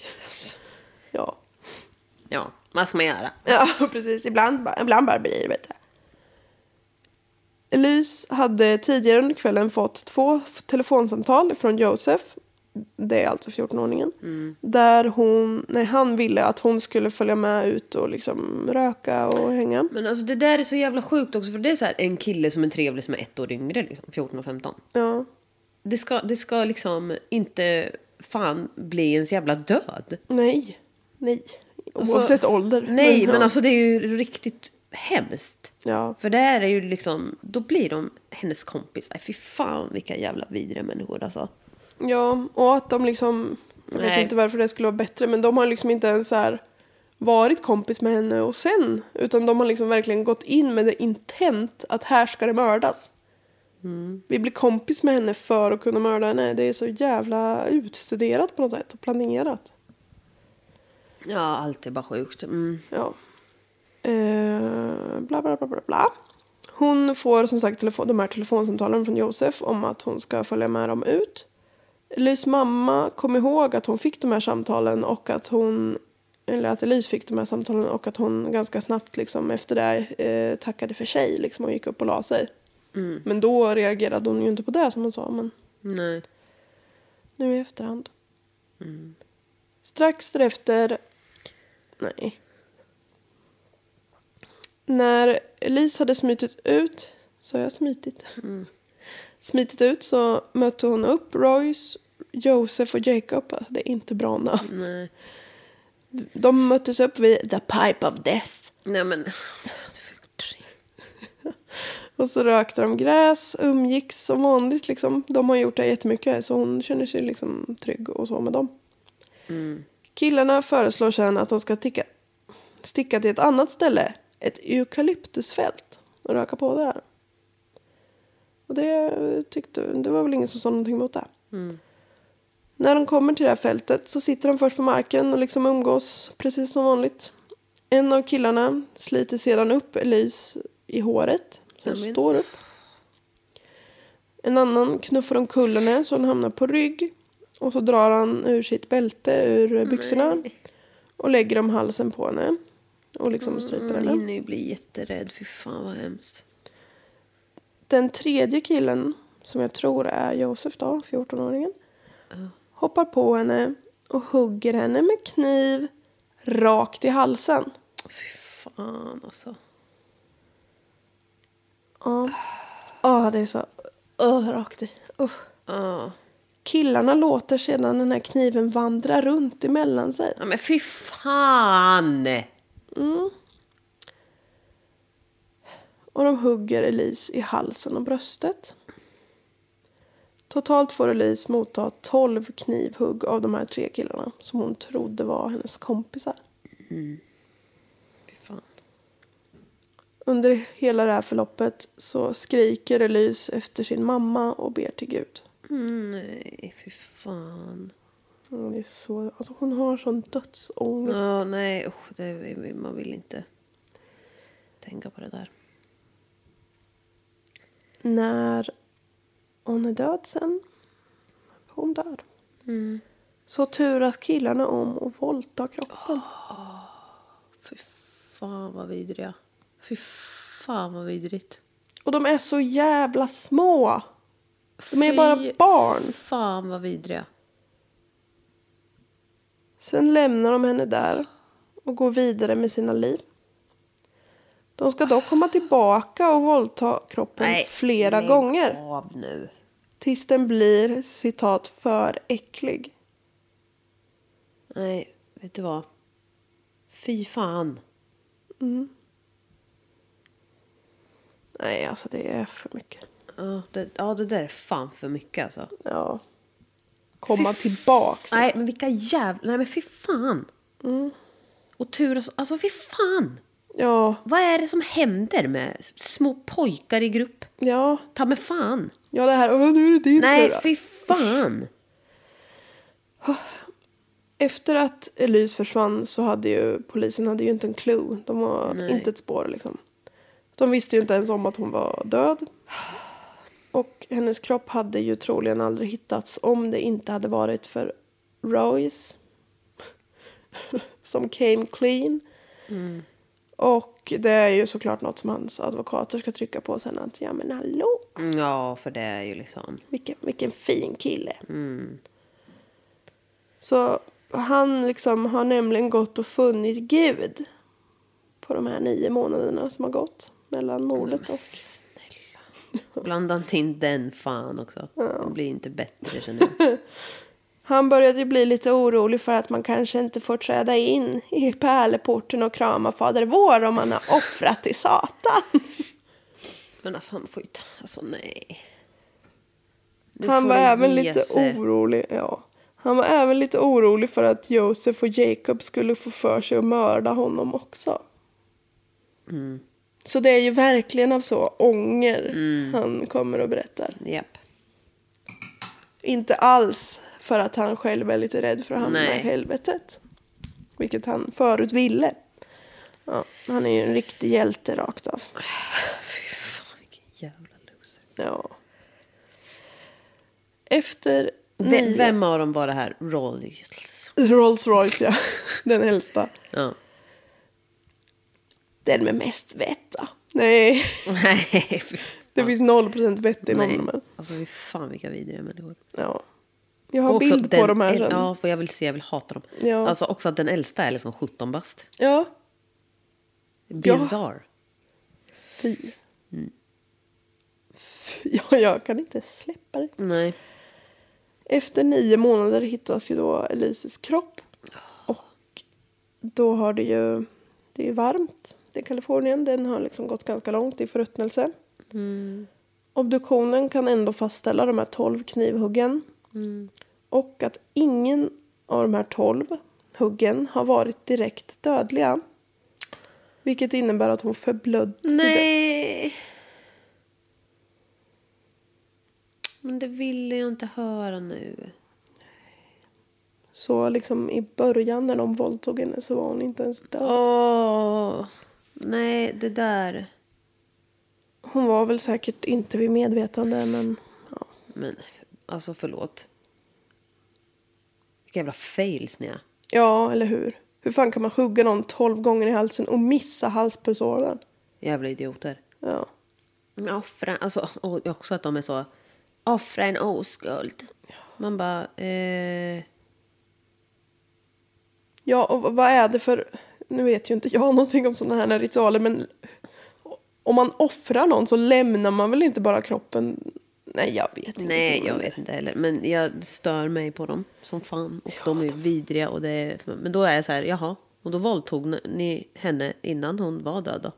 Speaker 2: Ja.
Speaker 3: Ja, vad ska man göra?
Speaker 2: Ja, precis. Ibland, bara- ibland bara blir det, vet du. Elise hade tidigare under kvällen fått två f- telefonsamtal från Josef. Det är alltså 14-åringen. Där hon, nej, han ville att hon skulle följa med ut och liksom röka och hänga.
Speaker 3: Men alltså det där är så jävla sjukt också för det är så här en kille som är trevlig som är ett år yngre liksom, 14 och 15.
Speaker 2: Ja.
Speaker 3: Det ska, det ska liksom inte fan bli ens jävla död.
Speaker 2: Nej. Nej.
Speaker 3: Alltså,
Speaker 2: Oavsett ålder.
Speaker 3: Nej, men
Speaker 2: ja.
Speaker 3: alltså det är ju riktigt hemskt.
Speaker 2: Ja.
Speaker 3: För det här är ju liksom, då blir de hennes kompisar. Fy fan vilka jävla vidriga människor alltså.
Speaker 2: Ja, och att de liksom... Jag vet
Speaker 3: Nej.
Speaker 2: inte varför det skulle vara bättre, men de har liksom inte ens så här varit kompis med henne och sen. Utan de har liksom verkligen gått in med det intent att här ska det mördas. Vi blir kompis med henne för att kunna mörda henne. Det är så jävla utstuderat på något sätt och planerat.
Speaker 3: Ja, allt är bara sjukt. Mm.
Speaker 2: Ja. Eh, bla, bla, bla, bla, bla. Hon får som sagt telefon, de här telefonsamtalen från Josef om att hon ska följa med dem ut. Elys mamma kom ihåg att hon fick de här samtalen och att hon eller att Elys fick de här samtalen och att hon ganska snabbt liksom efter det eh, tackade för sig liksom och gick upp och la sig. Men då reagerade hon ju inte på det som hon sa. Men
Speaker 3: Nej.
Speaker 2: nu i efterhand. Strax därefter... Nej. När Elise hade smitit ut... Så har jag smitit? Smitit ut så mötte
Speaker 3: Mm.
Speaker 2: hon upp Royce, Josef och Jacob. Alltså, det är inte bra namn.
Speaker 3: Nej.
Speaker 2: De möttes upp vid The Pipe of Death.
Speaker 3: Nej men...
Speaker 2: Och så rökte de gräs, umgicks som vanligt. Liksom. De har gjort det jättemycket så hon känner sig liksom trygg och så med dem. Killarna föreslår sen att de ska ticka, sticka till ett annat ställe, ett eukalyptusfält, och röka på där. Och det, tyckte, det var väl ingen som sa någonting emot det. När de kommer till det här fältet så sitter de först på marken och liksom umgås precis som vanligt. En av killarna sliter sedan upp Elise i håret. Så hon
Speaker 3: Nämen.
Speaker 2: står upp. En annan knuffar omkull henne så hon hamnar på rygg. Och så drar han ur sitt bälte ur eh, byxorna. Och lägger om halsen på henne. Och liksom stryper
Speaker 3: Hon
Speaker 2: henne.
Speaker 3: hinner Mm, ju bli jätterädd. Fy fan vad hemskt.
Speaker 2: Den tredje killen, som jag tror är Josef då, 14-åringen, hoppar på henne och hugger henne med kniv rakt i halsen.
Speaker 3: Fy fan alltså.
Speaker 2: Ja, Ja, det är så uh, rakt i. Usch.
Speaker 3: Ja.
Speaker 2: Killarna låter sedan den här kniven vandra runt emellan sig.
Speaker 3: Ja, men fy fan!
Speaker 2: Och de hugger Elise i halsen och bröstet. Totalt får Elise motta 12 knivhugg av de här tre killarna som hon trodde var hennes kompisar.
Speaker 3: Fy fan.
Speaker 2: Under hela det här förloppet så skriker Elise efter sin mamma och ber till Gud.
Speaker 3: Nej, fy fan.
Speaker 2: Mm, det är så, alltså hon har sån dödsångest.
Speaker 3: Ja, nej, usch, det, man vill inte tänka på det där.
Speaker 2: När hon är död sen, hon dör, så turas killarna om och våldtar kroppen.
Speaker 3: Fy fan vad vidriga. Fy fan vad vidrigt.
Speaker 2: Och de är så jävla små! De är
Speaker 3: Fy
Speaker 2: bara barn.
Speaker 3: fan vad vidriga.
Speaker 2: Sen lämnar de henne där och går vidare med sina liv. De ska dock komma tillbaka och våldta kroppen flera
Speaker 3: lägg
Speaker 2: gånger.
Speaker 3: av nu.
Speaker 2: Tills den blir citat för äcklig.
Speaker 3: Nej, vet du vad? Fy fan.
Speaker 2: Nej, alltså det är för mycket.
Speaker 3: Ja, det, ja, det där är fan för mycket alltså.
Speaker 2: Ja. Komma
Speaker 3: Fy
Speaker 2: tillbaks. alltså. Mm.
Speaker 3: Nej, men vilka jävla... Nej, men fy fan. Och turas... Alltså, fy fan.
Speaker 2: Ja,
Speaker 3: Vad är det som händer med små pojkar i grupp?
Speaker 2: ja,
Speaker 3: Ta med fan.
Speaker 2: ja det här. Åh, nu är det din
Speaker 3: Nej,
Speaker 2: tur. då.
Speaker 3: fy fan.
Speaker 2: Efter att Elise försvann så hade ju polisen hade ju inte en clue. De har inte ett spår liksom. De visste ju inte ens om att hon var död. Och hennes kropp hade ju troligen aldrig hittats om det inte hade varit för Royce. som came clean. Och det är ju såklart något som hans advokater ska trycka på sen att ja men hallå.
Speaker 3: Mm, Ja, för det är ju liksom...
Speaker 2: Vilken, vilken fin kille. Så han liksom har nämligen gått och funnit Gud på de här nio månaderna som har gått mellan mordet och...
Speaker 3: Blanda inte in den fan också. Det blir inte bättre känner jag.
Speaker 2: Han började ju bli lite orolig för att man kanske inte får träda in i pärleporten och krama Fader vår om man har offrat till Satan.
Speaker 3: Men alltså han får ju ta... Alltså nej. Nu
Speaker 2: Han
Speaker 3: får
Speaker 2: var
Speaker 3: det
Speaker 2: även
Speaker 3: ge
Speaker 2: lite
Speaker 3: sig.
Speaker 2: orolig. Ja. Han var även lite orolig för att Josef och Jacob skulle få för sig att mörda honom också.
Speaker 3: Mm.
Speaker 2: Så det är ju verkligen av så ånger
Speaker 3: Mm.
Speaker 2: han kommer och berättar.
Speaker 3: Japp.
Speaker 2: Inte alls för att han själv är lite rädd för att hamna
Speaker 3: Nej.
Speaker 2: i helvetet. Vilket han förut ville. Ja, han är ju en riktig hjälte rakt av.
Speaker 3: Fan, vilken jävla loser.
Speaker 2: Ja. Efter
Speaker 3: Ve- Vem av dem var det här? Rolls.
Speaker 2: Rolls Royce, ja. Den äldsta.
Speaker 3: Ja.
Speaker 2: den med mest vett då. Nej,
Speaker 3: Nej, fy
Speaker 2: det finns 0% vett i någon av
Speaker 3: Nej.
Speaker 2: de här.
Speaker 3: Alltså fy fan vilka vidriga människor.
Speaker 2: Ja. Jag har
Speaker 3: Och också
Speaker 2: bild på
Speaker 3: den
Speaker 2: de här
Speaker 3: äl-
Speaker 2: sen. Ja.
Speaker 3: Ja, för jag vill se, jag vill hata dem.
Speaker 2: Ja.
Speaker 3: Alltså också att den äldsta är liksom 17 bast.
Speaker 2: Ja.
Speaker 3: Bizarre.
Speaker 2: Fy. Fy, Ja, jag kan inte släppa det.
Speaker 3: Nej.
Speaker 2: Efter nio månader hittas ju då Elises kropp. Och då har det ju, det är varmt. Det är Kalifornien, den har liksom gått ganska långt i förruttnelse. Obduktionen kan ändå fastställa de här 12 knivhuggen. Och att ingen av de här 12 huggen har varit direkt dödliga. Vilket innebär att hon förblödde till döds.
Speaker 3: Nej. Men det ville jag inte höra nu.
Speaker 2: Så liksom i början när de våldtog henne så var hon inte ens död.
Speaker 3: Åh. Nej, det där.
Speaker 2: Hon var väl säkert inte vid medvetande men ja.
Speaker 3: Men alltså förlåt. Vilka jävla fails ni är.
Speaker 2: ja, eller hur? Hur fan kan man hugga någon 12 gånger i halsen och missa halspulsådern?
Speaker 3: Jävla idioter.
Speaker 2: Ja.
Speaker 3: Men Offra, alltså och också att de är så. Offra en oskuld. Man bara. Eh,
Speaker 2: Ja, och vad är det för... Nu vet ju inte jag någonting om sådana här ritualer, men om man offrar någon så lämnar man väl inte bara kroppen? Nej, jag vet inte.
Speaker 3: nej, jag vet inte heller. Men jag stör mig på dem som fan. Och de är vidriga. Och det är, men då är jag så här, jaha. Och då våldtog ni henne innan hon var död då?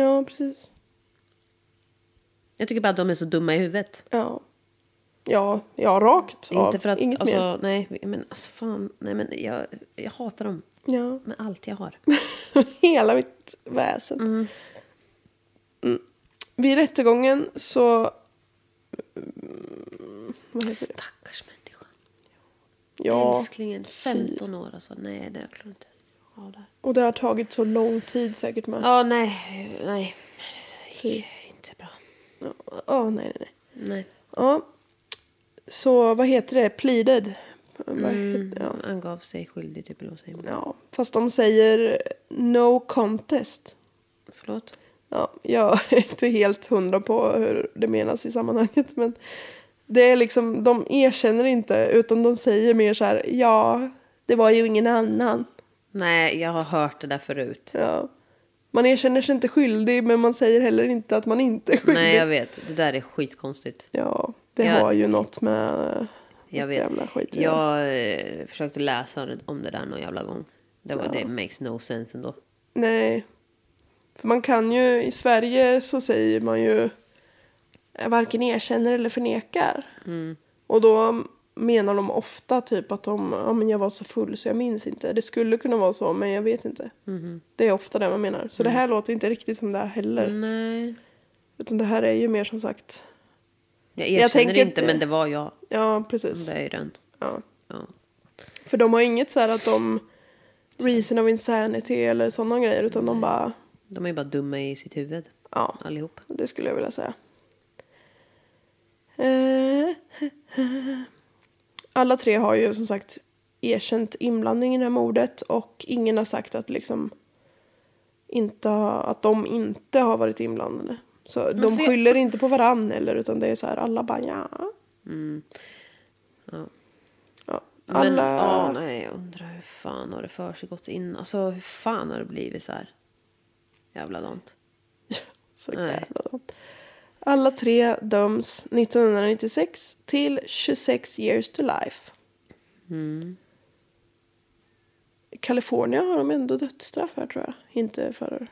Speaker 2: Ja, precis.
Speaker 3: Jag tycker bara att de är så dumma i huvudet.
Speaker 2: Ja, ja, ja rakt av.
Speaker 3: Inte för att,
Speaker 2: Inget
Speaker 3: alltså,
Speaker 2: mer.
Speaker 3: nej, men alltså fan, nej men jag, jag hatar dem
Speaker 2: Ja.
Speaker 3: med allt jag har.
Speaker 2: Hela mitt väsen. Mm. Vid rättegången så... Mm, Vad heter det?
Speaker 3: Stackars människa.
Speaker 2: Ja,
Speaker 3: Älsklingen, 15 år alltså. Nej, det jag klarar inte av det här.
Speaker 2: och det har tagit så lång tid säkert med.
Speaker 3: Ja, nej, nej. Inte bra.
Speaker 2: Ja, ja, nej, nej, nej.
Speaker 3: Nej,
Speaker 2: Ja. Så vad heter det? Pleaded? Vad
Speaker 3: Mm.
Speaker 2: heter- Ja.
Speaker 3: han gav sig skyldig typ, eller vad säger man?
Speaker 2: ja, fast de säger no contest.
Speaker 3: Förlåt?
Speaker 2: Ja, jag är inte helt hundra på hur det menas i sammanhanget. Men det är liksom, de erkänner inte utan de säger mer så här, ja, det var ju ingen annan.
Speaker 3: Nej, jag har hört det där förut.
Speaker 2: Ja. Man erkänner sig inte skyldig men man säger heller inte att man inte är skyldig.
Speaker 3: Nej, jag vet. Det där är skitkonstigt.
Speaker 2: Ja, det
Speaker 3: Jag-
Speaker 2: har ju något med
Speaker 3: Jag
Speaker 2: något
Speaker 3: vet.
Speaker 2: jävla skit att göra.
Speaker 3: Jag eh, försökte läsa om det där någon jävla gång. Det, var, det makes no sense ändå.
Speaker 2: Nej. För man kan ju, i Sverige så säger man ju eh, varken erkänner eller förnekar.
Speaker 3: Mm.
Speaker 2: Och då menar de ofta typ att de, ja men jag var så full så jag minns inte. Det skulle kunna vara så men jag vet inte.
Speaker 3: Mm-hmm.
Speaker 2: Det är ofta det man menar. Så
Speaker 3: Mm.
Speaker 2: det här låter inte riktigt som det här heller.
Speaker 3: Nej.
Speaker 2: Utan det här är ju mer som sagt,
Speaker 3: Jag
Speaker 2: Jag
Speaker 3: erkänner
Speaker 2: tänker
Speaker 3: inte,
Speaker 2: att-
Speaker 3: men det var jag.
Speaker 2: ja precis.
Speaker 3: Det är ju den.
Speaker 2: Ja.
Speaker 3: Ja.
Speaker 2: För de har inget så här att de, reason of insanity eller sådana grejer. Utan de bara,
Speaker 3: De är ju bara dumma i sitt huvud,
Speaker 2: ja.
Speaker 3: allihop.
Speaker 2: Det skulle jag vilja säga. Eh, Alla tre har ju som sagt erkänt inblandning i det här mordet och ingen har sagt att liksom inte ha, att de inte har varit inblandade. Så de
Speaker 3: så jag-
Speaker 2: skyller inte på varann eller utan det är så här alla bara ja.
Speaker 3: Mm.
Speaker 2: Ja. Alla,
Speaker 3: Men, ja, nej, jag undrar hur fan har det för sig gått in? Alltså, hur fan har det blivit så här? Jävla dant.
Speaker 2: Så
Speaker 3: Nej.
Speaker 2: jävla dumt. Alla tre döms 1996 till 26 years to life.
Speaker 3: Mm.
Speaker 2: I Kalifornien har de ändå dödsstraff här tror jag. Inte för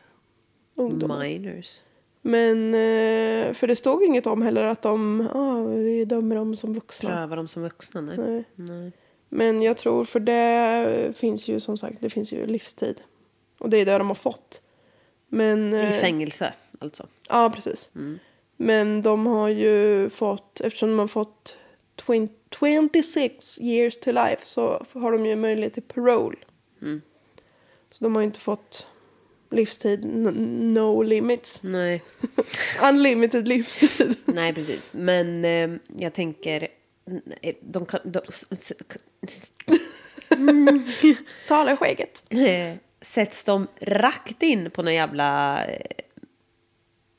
Speaker 2: ungdomar.
Speaker 3: Minors.
Speaker 2: Men eh, för det stod inget om heller att de ah, vi dömer dem som vuxna.
Speaker 3: Pröva dem som vuxna, nej.
Speaker 2: Nej.
Speaker 3: nej.
Speaker 2: Men jag tror för det finns ju som sagt det finns ju livstid. Och det är det de har fått. Men,
Speaker 3: I
Speaker 2: eh,
Speaker 3: fängelse, alltså.
Speaker 2: Ja, precis.
Speaker 3: Mm.
Speaker 2: Men de har ju fått, eftersom de har fått 20, 26 years to life så har de ju möjlighet till parole.
Speaker 3: Mm.
Speaker 2: Så de har ju inte fått livstid, n- no limits.
Speaker 3: Nej,
Speaker 2: Unlimited livstid.
Speaker 3: nej precis. Men eh, jag tänker... nej, De kan... De, s- s- k- s-
Speaker 2: Tala i skägget.
Speaker 3: eh, sätts de rakt in på någon jävla eh,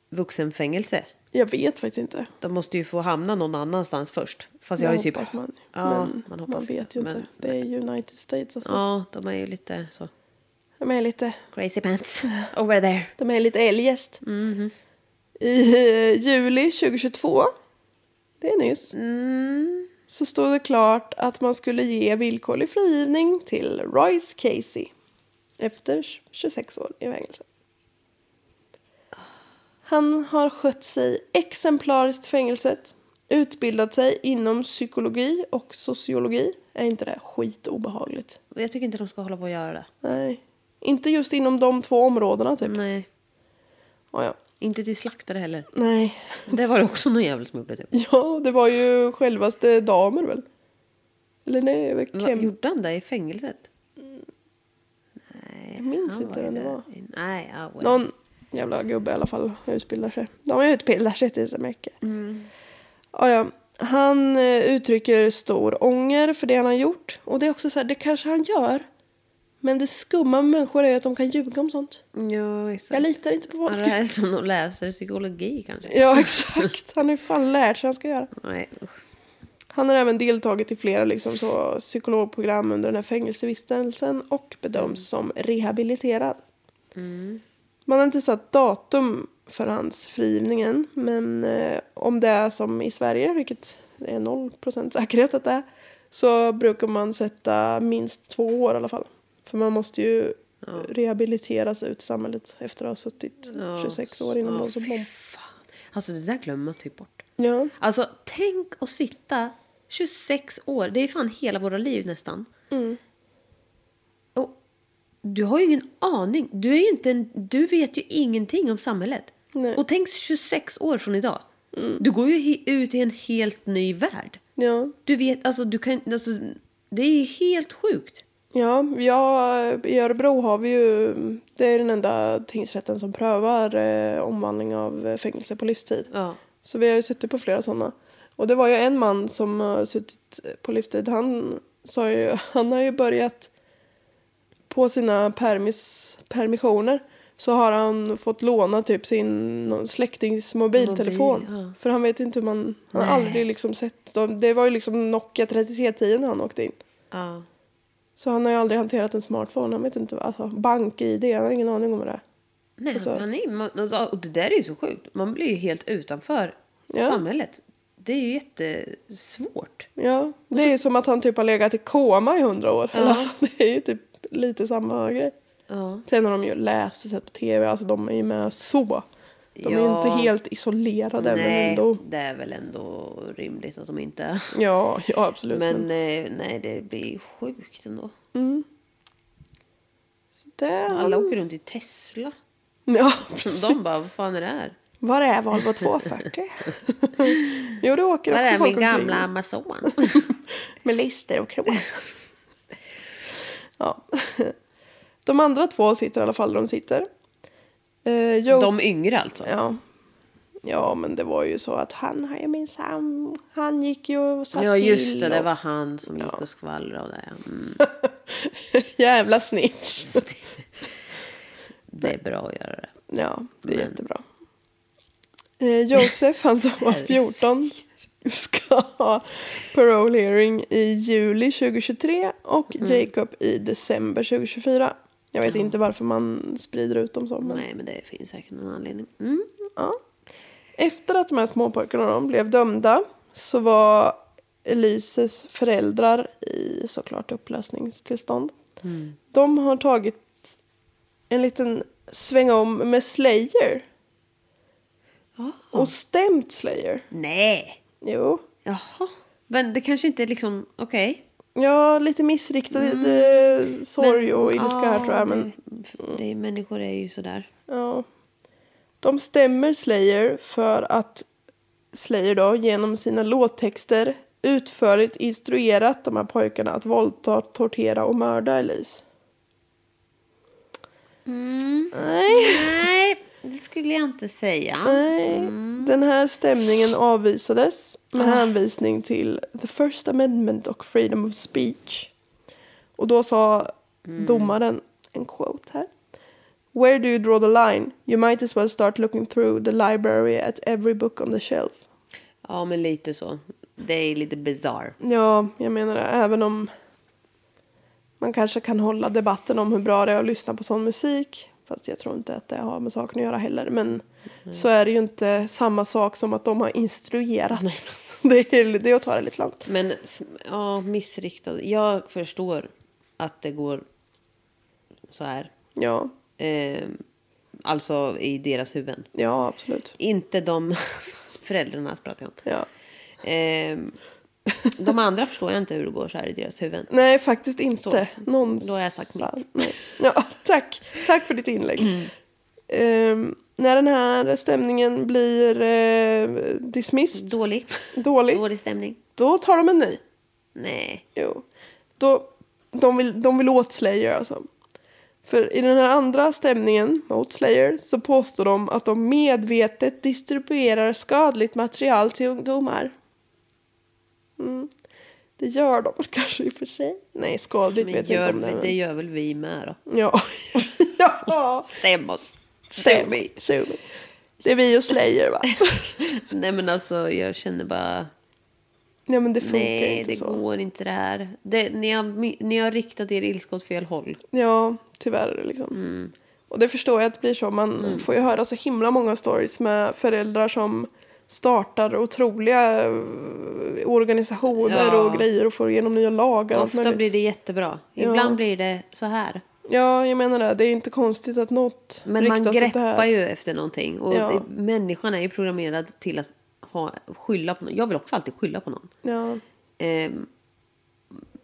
Speaker 3: vuxenfängelse?
Speaker 2: Jag vet faktiskt inte.
Speaker 3: De måste ju få hamna någon annanstans först. Fast jag har ju typ...
Speaker 2: hoppas man.
Speaker 3: Ja,
Speaker 2: men
Speaker 3: man
Speaker 2: man,
Speaker 3: hoppas ju.
Speaker 2: vet ju inte.
Speaker 3: Men-
Speaker 2: det är United States alltså.
Speaker 3: Ja, de är ju lite så...
Speaker 2: De är lite
Speaker 3: Crazy pants over there.
Speaker 2: De är lite eljest. I eh, juli 2022, det är nyss, så stod det klart att man skulle ge villkorlig frigivning till Royce Casey. efter 26 år i fängelse. Han har skött sig exemplariskt i fängelset, utbildat sig inom psykologi och sociologi. Är inte det skitobehagligt?
Speaker 3: Jag tycker inte de ska hålla på och göra det.
Speaker 2: Nej. Inte just inom de två områdena typ.
Speaker 3: Nej.
Speaker 2: Ja, ja.
Speaker 3: Inte till slaktare heller.
Speaker 2: Nej.
Speaker 3: Det var det också någon jävel som gjorde typ.
Speaker 2: Ja, det var ju självaste damer väl? Eller nej, det var
Speaker 3: Va,
Speaker 2: Kemp.
Speaker 3: Gjorde han det i fängelset? Nej,
Speaker 2: Jag minns
Speaker 3: han
Speaker 2: inte
Speaker 3: ju
Speaker 2: vem det
Speaker 3: där.
Speaker 2: var.
Speaker 3: Nej, ja, well.
Speaker 2: Någon jävla gubbe i alla fall utbildar sig. De utbildar sig till så mycket.
Speaker 3: Mm.
Speaker 2: Ja, ja. Han eh, uttrycker stor ånger för det han har gjort. Och det är också så här, det kanske han gör. Men det skumma med människor är ju att de kan ljuga om sånt.
Speaker 3: Ja, exakt.
Speaker 2: Jag litar inte på
Speaker 3: Ja,
Speaker 2: folk.
Speaker 3: det här är som de läser psykologi kanske.
Speaker 2: Ja, exakt. Han har ju fan lärt sig vad han ska göra.
Speaker 3: Nej, usch.
Speaker 2: Han har även deltagit i flera liksom, så, psykologprogram under den här fängelsevistelsen och
Speaker 3: Mm.
Speaker 2: bedöms som rehabiliterad. Man har inte satt datum för hans frigivning än, men eh, om det är som i Sverige, vilket det är 0% säkerhet att det är, så brukar man sätta minst två år i alla fall. För man måste ju rehabiliteras ut i samhället efter att ha suttit
Speaker 3: Ja,
Speaker 2: 26 år innan
Speaker 3: ja,
Speaker 2: man så
Speaker 3: fy
Speaker 2: bom.
Speaker 3: fan. Alltså det där glömmer man typ bort.
Speaker 2: Ja,
Speaker 3: Alltså tänk att sitta 26 år, det är fan hela våra liv nästan.
Speaker 2: mm.
Speaker 3: Och du har ju ingen aning, du, är ju inte en, du vet ju ingenting om samhället.
Speaker 2: Nej. Mm.
Speaker 3: Och tänk 26 år från idag. Du går ju he- ut i en helt ny värld.
Speaker 2: ja.
Speaker 3: Du vet, alltså du kan alltså, det är ju helt sjukt.
Speaker 2: Ja, jag, i Örebro har vi ju, det är den enda tingsrätten som prövar eh, omvandling av eh, fängelse på livstid.
Speaker 3: Ja.
Speaker 2: Så vi har ju suttit på flera sådana. Och det var ju en man som har suttit på livstid, han sa ju, han har ju börjat på sina permis, permissioner så har han fått låna typ sin någon släktings mobiltelefon.
Speaker 3: Mobil, ja.
Speaker 2: För han vet inte hur man, han har
Speaker 3: Nej.
Speaker 2: aldrig liksom sett dem. Det var ju liksom Nokia 3310 när han åkte in.
Speaker 3: ja.
Speaker 2: Så han har ju aldrig hanterat en smartphone. Han vet inte vad, alltså bank-id, han har ingen aning om vad det är.
Speaker 3: Nej,
Speaker 2: Alltså-
Speaker 3: han är, man, alltså, och det där är ju så sjukt. Man blir ju helt utanför
Speaker 2: Ja.
Speaker 3: samhället. Det är ju jättesvårt.
Speaker 2: Ja, det är ju som att han typ har legat i koma i hundra år.
Speaker 3: Ja.
Speaker 2: Alltså, det är ju typ lite samma grej.
Speaker 3: Ja.
Speaker 2: Sen har de ju läst och sett på tv, alltså de är ju med så. De är ju
Speaker 3: Ja.
Speaker 2: inte helt isolerade men
Speaker 3: nej,
Speaker 2: ändå.
Speaker 3: det är väl ändå rimligt att de inte är.
Speaker 2: Ja, ja absolut.
Speaker 3: Men
Speaker 2: Men,
Speaker 3: eh, nej, det blir sjukt ändå.
Speaker 2: det...
Speaker 3: Alla åker runt i Tesla.
Speaker 2: Ja, Mm. precis.
Speaker 3: De bara, vad fan är det här?
Speaker 2: Var är Volvo 240? jo, det åker
Speaker 3: Var
Speaker 2: också
Speaker 3: är
Speaker 2: folk
Speaker 3: min
Speaker 2: omkring.
Speaker 3: gamla Amazon?
Speaker 2: Med lister och krok. ja. De andra två sitter i alla fall där de sitter. Eh, Jos-
Speaker 3: de yngre alltså?
Speaker 2: ja. ja, men det var ju så att han har ju minsann, han gick ju och sa
Speaker 3: Ja,
Speaker 2: till.
Speaker 3: just det. Det
Speaker 2: och-
Speaker 3: var han som gick
Speaker 2: Ja.
Speaker 3: och skvallrade och det. ja. Mm,
Speaker 2: Jävla snitch.
Speaker 3: det är bra att göra det.
Speaker 2: Ja, det är
Speaker 3: Men-
Speaker 2: jättebra. Eh, Josef, han som var 14, ska ha parole hearing i juli 2023 och
Speaker 3: Mm.
Speaker 2: Jacob i december 2024. Jag vet inte varför man sprider ut dem så. Men,
Speaker 3: Nej, men det finns säkert någon anledning. Mm.
Speaker 2: ja. Efter att de här småpojkarna då blev dömda så var Elises föräldrar i såklart upplösningstillstånd. De har tagit en liten sväng om med Slayer. Och stämt Slayer.
Speaker 3: Nej!
Speaker 2: Jo.
Speaker 3: Jaha. Men det kanske inte är liksom, okej.
Speaker 2: Ja, lite missriktad eh, sorg
Speaker 3: Men- ah,
Speaker 2: och ilska här
Speaker 3: ja,
Speaker 2: tror jag. Men,
Speaker 3: det, det, människor är ju sådär.
Speaker 2: ja. De stämmer Slayer för att Slayer då genom sina låttexter utförligt instruerat de här pojkarna att våldta, tortera och mörda Elise. Mm. Nej.
Speaker 3: Nej, det skulle jag inte säga.
Speaker 2: Nej, den här stämningen avvisades med hänvisning till the first amendment och freedom of speech. Och då sa domaren en quote här. Where do you draw the line? You might as well start looking through the library at every book on the shelf.
Speaker 3: Ja, men lite så. Det är lite bizarr.
Speaker 2: Ja, jag menar det. Även om man kanske kan hålla debatten om hur bra det är att lyssna på sån musik. Fast jag tror inte att det har med saken att göra heller. Men så är det ju inte samma sak som att de har instruerat. Det är, det är att ta det lite långt.
Speaker 3: Men s- ja, missriktad. Jag förstår att det går så här.
Speaker 2: Ja,
Speaker 3: Eh, alltså i deras huvuden.
Speaker 2: ja absolut.
Speaker 3: Inte de föräldrarna pratar jag om.
Speaker 2: Ja.
Speaker 3: Eh, de andra förstår jag inte hur det går så här i deras huvuden.
Speaker 2: Nej, faktiskt inte.
Speaker 3: Så,
Speaker 2: Någonstans.
Speaker 3: då har jag sagt mitt. Mm.
Speaker 2: Nej. Ja, tack. Tack för ditt inlägg. Ehm, när den här stämningen blir eh, dismissed,
Speaker 3: Dålig.
Speaker 2: dålig,
Speaker 3: Dålig stämning.
Speaker 2: då tar de en ny.
Speaker 3: Nej.
Speaker 2: Jo. Då, de, vill, de vill åt Slayer alltså. För i den här andra stämningen mot Slayer så påstår de att de medvetet distribuerar skadligt material till ungdomar. Mm. Det gör de kanske i och för sig. Nej, skadligt
Speaker 3: Men
Speaker 2: vet
Speaker 3: gör,
Speaker 2: jag inte om
Speaker 3: det
Speaker 2: det är.
Speaker 3: gör väl vi med då?
Speaker 2: Men... Ja. ja.
Speaker 3: Stäm oss.
Speaker 2: Sue
Speaker 3: Stäm
Speaker 2: me.
Speaker 3: mig.
Speaker 2: Sue me. Det är vi och Slayer va?
Speaker 3: Nej men alltså jag känner bara.
Speaker 2: Nej men det funkar
Speaker 3: Nej
Speaker 2: inte
Speaker 3: det
Speaker 2: så.
Speaker 3: går inte det här. Det, ni, har, my- ni har riktat er ilska åt fel håll.
Speaker 2: Ja, tyvärr. Liksom.
Speaker 3: Mm.
Speaker 2: Och det förstår jag att det blir så. Man får ju höra så himla många stories med föräldrar som startar otroliga eh, organisationer
Speaker 3: Ja.
Speaker 2: och grejer och får igenom nya lagar. och allt
Speaker 3: Ofta
Speaker 2: möjligt.
Speaker 3: blir det jättebra.
Speaker 2: Ja.
Speaker 3: Ibland blir det så här.
Speaker 2: Ja, jag menar det. Det är inte konstigt att något
Speaker 3: Men man
Speaker 2: riktas åt det
Speaker 3: greppar
Speaker 2: här.
Speaker 3: ju efter någonting. Och
Speaker 2: Ja.
Speaker 3: det, människan är ju programmerad till att ha, skylla på någon. Jag vill också alltid skylla på någon.
Speaker 2: Ja,
Speaker 3: Ehm,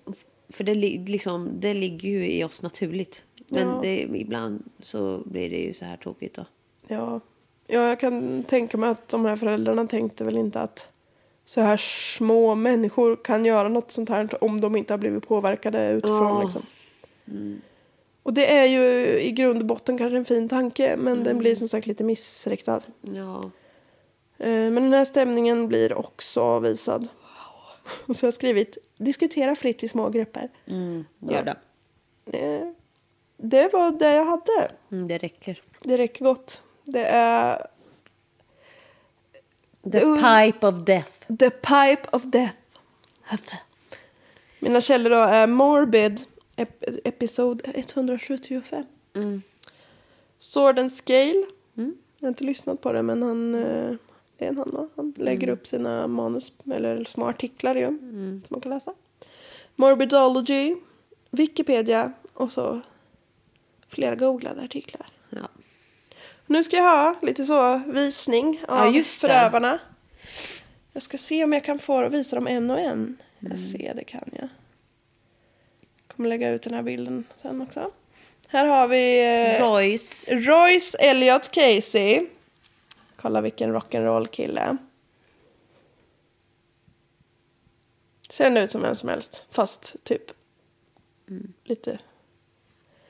Speaker 3: f- för det, li- liksom, det ligger ju i oss naturligt. Men
Speaker 2: Ja.
Speaker 3: det, ibland så blir det ju så här tokigt då.
Speaker 2: ja. ja, jag kan tänka mig att de här föräldrarna tänkte väl inte att så här små människor kan göra något sånt här om de inte har blivit påverkade utifrån.
Speaker 3: Ja. Mm.
Speaker 2: Liksom. Och det är ju i grund och botten kanske en fin tanke men den
Speaker 3: Mm.
Speaker 2: blir som sagt lite missriktad.
Speaker 3: Ja.
Speaker 2: Eh, Men den här stämningen blir också avvisad. Och så har jag skrivit diskutera fritt i små grupper.
Speaker 3: Mm, gör det.
Speaker 2: Eh, Det var det jag hade.
Speaker 3: Mm, det räcker.
Speaker 2: Det räcker gott. Det är
Speaker 3: The pipe of death.
Speaker 2: The Pipe of Death. Mina källor då är Morbid, ep episod 175. Sword and Scale. Jag har inte lyssnat på det, men han, eh, det är en han, va? han lägger upp sina manus, eller små artiklar ju, som man kan läsa. Morbidology, Wikipedia och så flera googlade artiklar.
Speaker 3: Ja.
Speaker 2: Nu ska jag ha lite så visning av
Speaker 3: Ja, just det.
Speaker 2: förövarna. Jag ska se om jag kan få visa dem en och en. Jag
Speaker 3: Mm.
Speaker 2: ser, det kan jag. Kommer lägga ut den här bilden sen också. Här har vi eh,
Speaker 3: Royce.
Speaker 2: Royce Elliot Casey. Kolla vilken rock'n'roll kille. Ser den ut som vem som helst, fast typ
Speaker 3: Mm.
Speaker 2: lite.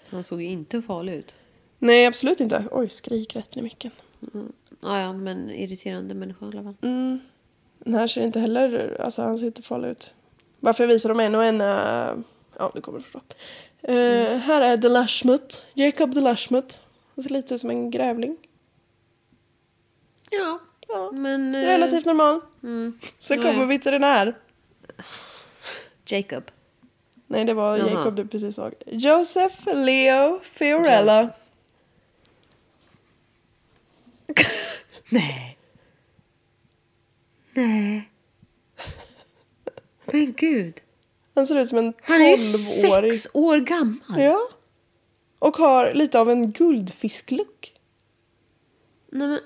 Speaker 3: Han såg ju inte farlig ut.
Speaker 2: Nej, absolut inte. Oj, skrik rätt i micken.
Speaker 3: Ja, ja, men irriterande människa i alla fall.
Speaker 2: Den här ser inte heller, alltså han ser inte farlig ut. Varför jag visar dem en och en, eh, ja du kommer att förstå. Eh,
Speaker 3: Mm.
Speaker 2: Här är Delashmut, Jacob Delashmut. Han ser lite ut som en grävling.
Speaker 3: Ja,
Speaker 2: Ja,
Speaker 3: men... eh, mm.
Speaker 2: Relativt normal. Sen
Speaker 3: Ja,
Speaker 2: kommer
Speaker 3: ja.
Speaker 2: veterinär.
Speaker 3: Jacob.
Speaker 2: Nej det var
Speaker 3: Jaha.
Speaker 2: Jacob du precis såg. Joseph Leo Fiorella.
Speaker 3: Nej. Nej. Men gud.
Speaker 2: Han ser ut som en
Speaker 3: Han är ju
Speaker 2: 12-årig.
Speaker 3: sex år gammal.
Speaker 2: Ja. Och har lite av en guldfisklook.
Speaker 3: Nej men...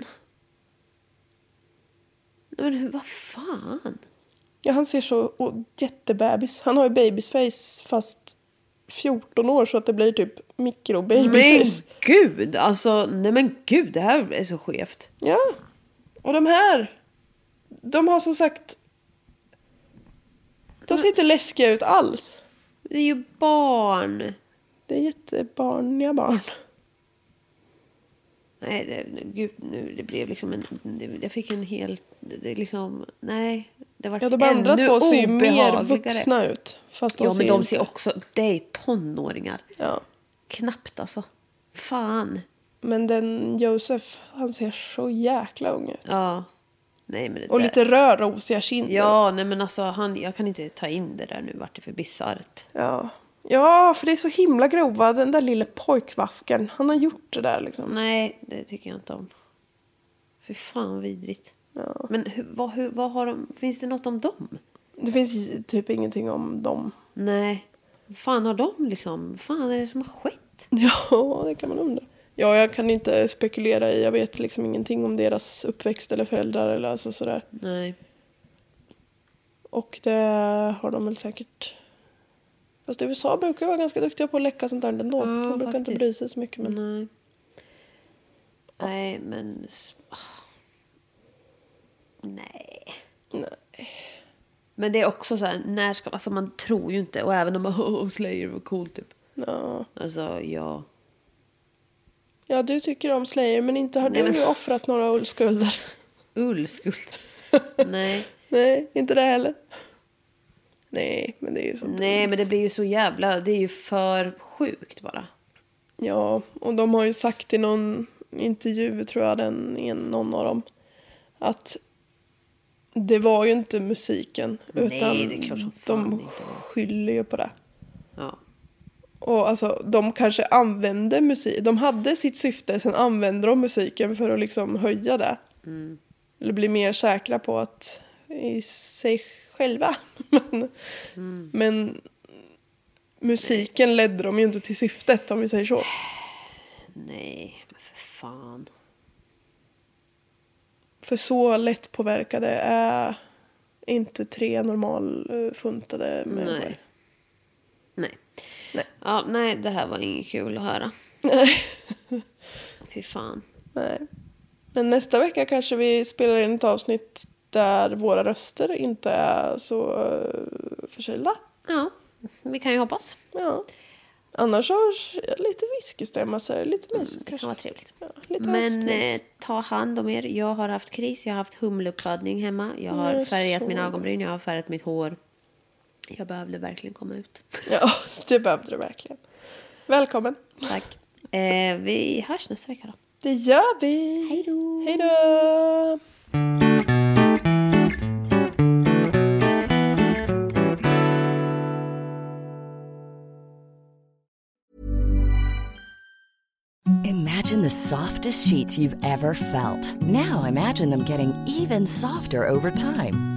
Speaker 3: Nej men hur- vad fan?
Speaker 2: Ja, han ser så och, jättebebis. Han har ju babysface fast 14 år så att det blir typ
Speaker 3: Men
Speaker 2: mikrobabyface.
Speaker 3: gud, alltså nej men gud, det här är så skevt.
Speaker 2: Ja. Och de här. De har som sagt. De ser inte läskiga ut alls.
Speaker 3: Det är ju barn.
Speaker 2: Det är jättebarniga barn.
Speaker 3: Nej, det, gud, nu det blev liksom en... det- Jag fick en helt... Det, det liksom, nej, det var
Speaker 2: Ja, de andra
Speaker 3: ännu
Speaker 2: två ser ju mer
Speaker 3: obehagligare.
Speaker 2: vuxna ut. Fast de
Speaker 3: Ja,
Speaker 2: ser
Speaker 3: men de
Speaker 2: inte-
Speaker 3: ser också... Det är tonåringar.
Speaker 2: Ja.
Speaker 3: Knappt alltså. Fan.
Speaker 2: Men den Josef, han ser så jäkla ung ut.
Speaker 3: Ja. Nej, men det
Speaker 2: Och
Speaker 3: där-
Speaker 2: lite rödrosiga kinder.
Speaker 3: Ja, nej men alltså han, jag kan inte ta in det där nu vart det för bisarrt.
Speaker 2: Ja. ja, för det är så himla grova. Den där lille pojkvaskern, han har gjort det där liksom.
Speaker 3: Nej, det tycker jag inte om. Fy fan vidrigt.
Speaker 2: Ja.
Speaker 3: Men hur, vad, hur, vad har de, finns det något om dem?
Speaker 2: Det finns ju typ ingenting om dem.
Speaker 3: Nej. Fan har de liksom, fan är det som har skett? sjukt.
Speaker 2: Ja, det kan man undra. Ja, jag kan inte spekulera i, jag vet liksom ingenting om deras uppväxt eller föräldrar eller alltså sådär.
Speaker 3: Nej.
Speaker 2: Och det har de väl säkert. Fast USA brukar ju vara ganska duktiga på att läcka sånt där ändå.
Speaker 3: Ja,
Speaker 2: de brukar inte
Speaker 3: faktiskt.
Speaker 2: bry sig så mycket. Men...
Speaker 3: Nej. Nej, men... s- ah. Nej.
Speaker 2: Nej.
Speaker 3: Men det är också så här, när ska alltså man tror ju inte. Och även om man, oh, Slayer var cool typ.
Speaker 2: Ja.
Speaker 3: Alltså, ja.
Speaker 2: ja, du tycker om Slayer men inte har
Speaker 3: Nej,
Speaker 2: du
Speaker 3: men-
Speaker 2: offrat några ullskulder.
Speaker 3: Ullskuld. Nej.
Speaker 2: Nej, inte det heller. Nej, men det är ju så.
Speaker 3: Nej, men det blir ju så jävla... Det är ju för sjukt bara.
Speaker 2: Ja, och de har ju sagt i någon intervju, tror jag, den, en, någon av dem, att det var ju inte musiken.
Speaker 3: Nej,
Speaker 2: utan
Speaker 3: det är klart som fan
Speaker 2: de
Speaker 3: det inte var.
Speaker 2: skyller ju på det.
Speaker 3: Ja.
Speaker 2: Och alltså, de kanske använde musik. De hade sitt syfte, sen använde de musiken för att liksom höja det. Eller bli mer säkra på att i sig själva. men, men musiken ledde dem ju inte till syftet om vi säger så.
Speaker 3: Nej, men för fan.
Speaker 2: För så lättpåverkade är inte tre normalfuntade människor.
Speaker 3: Nej. Nej.
Speaker 2: Nej.
Speaker 3: Ja, nej, det här var inget kul att höra. Fy fan.
Speaker 2: Nej. Men nästa vecka kanske vi spelar in ett avsnitt där våra röster inte är så eh, förkylda.
Speaker 3: Ja, vi kan ju hoppas.
Speaker 2: Ja. Annars så lite whiskystämma så är det lite mysigt
Speaker 3: Mm, Det
Speaker 2: kanske.
Speaker 3: kan vara trevligt.
Speaker 2: Ja, lite
Speaker 3: Men
Speaker 2: höstmys.
Speaker 3: eh, ta hand om er. Jag har haft kris, jag har haft humleuppfödning hemma. Jag har
Speaker 2: Jag
Speaker 3: färgat
Speaker 2: såg
Speaker 3: mina
Speaker 2: det.
Speaker 3: ögonbryn, jag har färgat mitt hår. Jag behövde verkligen komma ut.
Speaker 2: Ja, det behövde du verkligen. Välkommen.
Speaker 3: Tack. Eh, vi hörs nästa vecka då.
Speaker 2: Det gör vi.
Speaker 3: Hej då.
Speaker 2: Hej då.
Speaker 5: Imagine the softest sheets you've ever felt. Now imagine them getting even softer over time.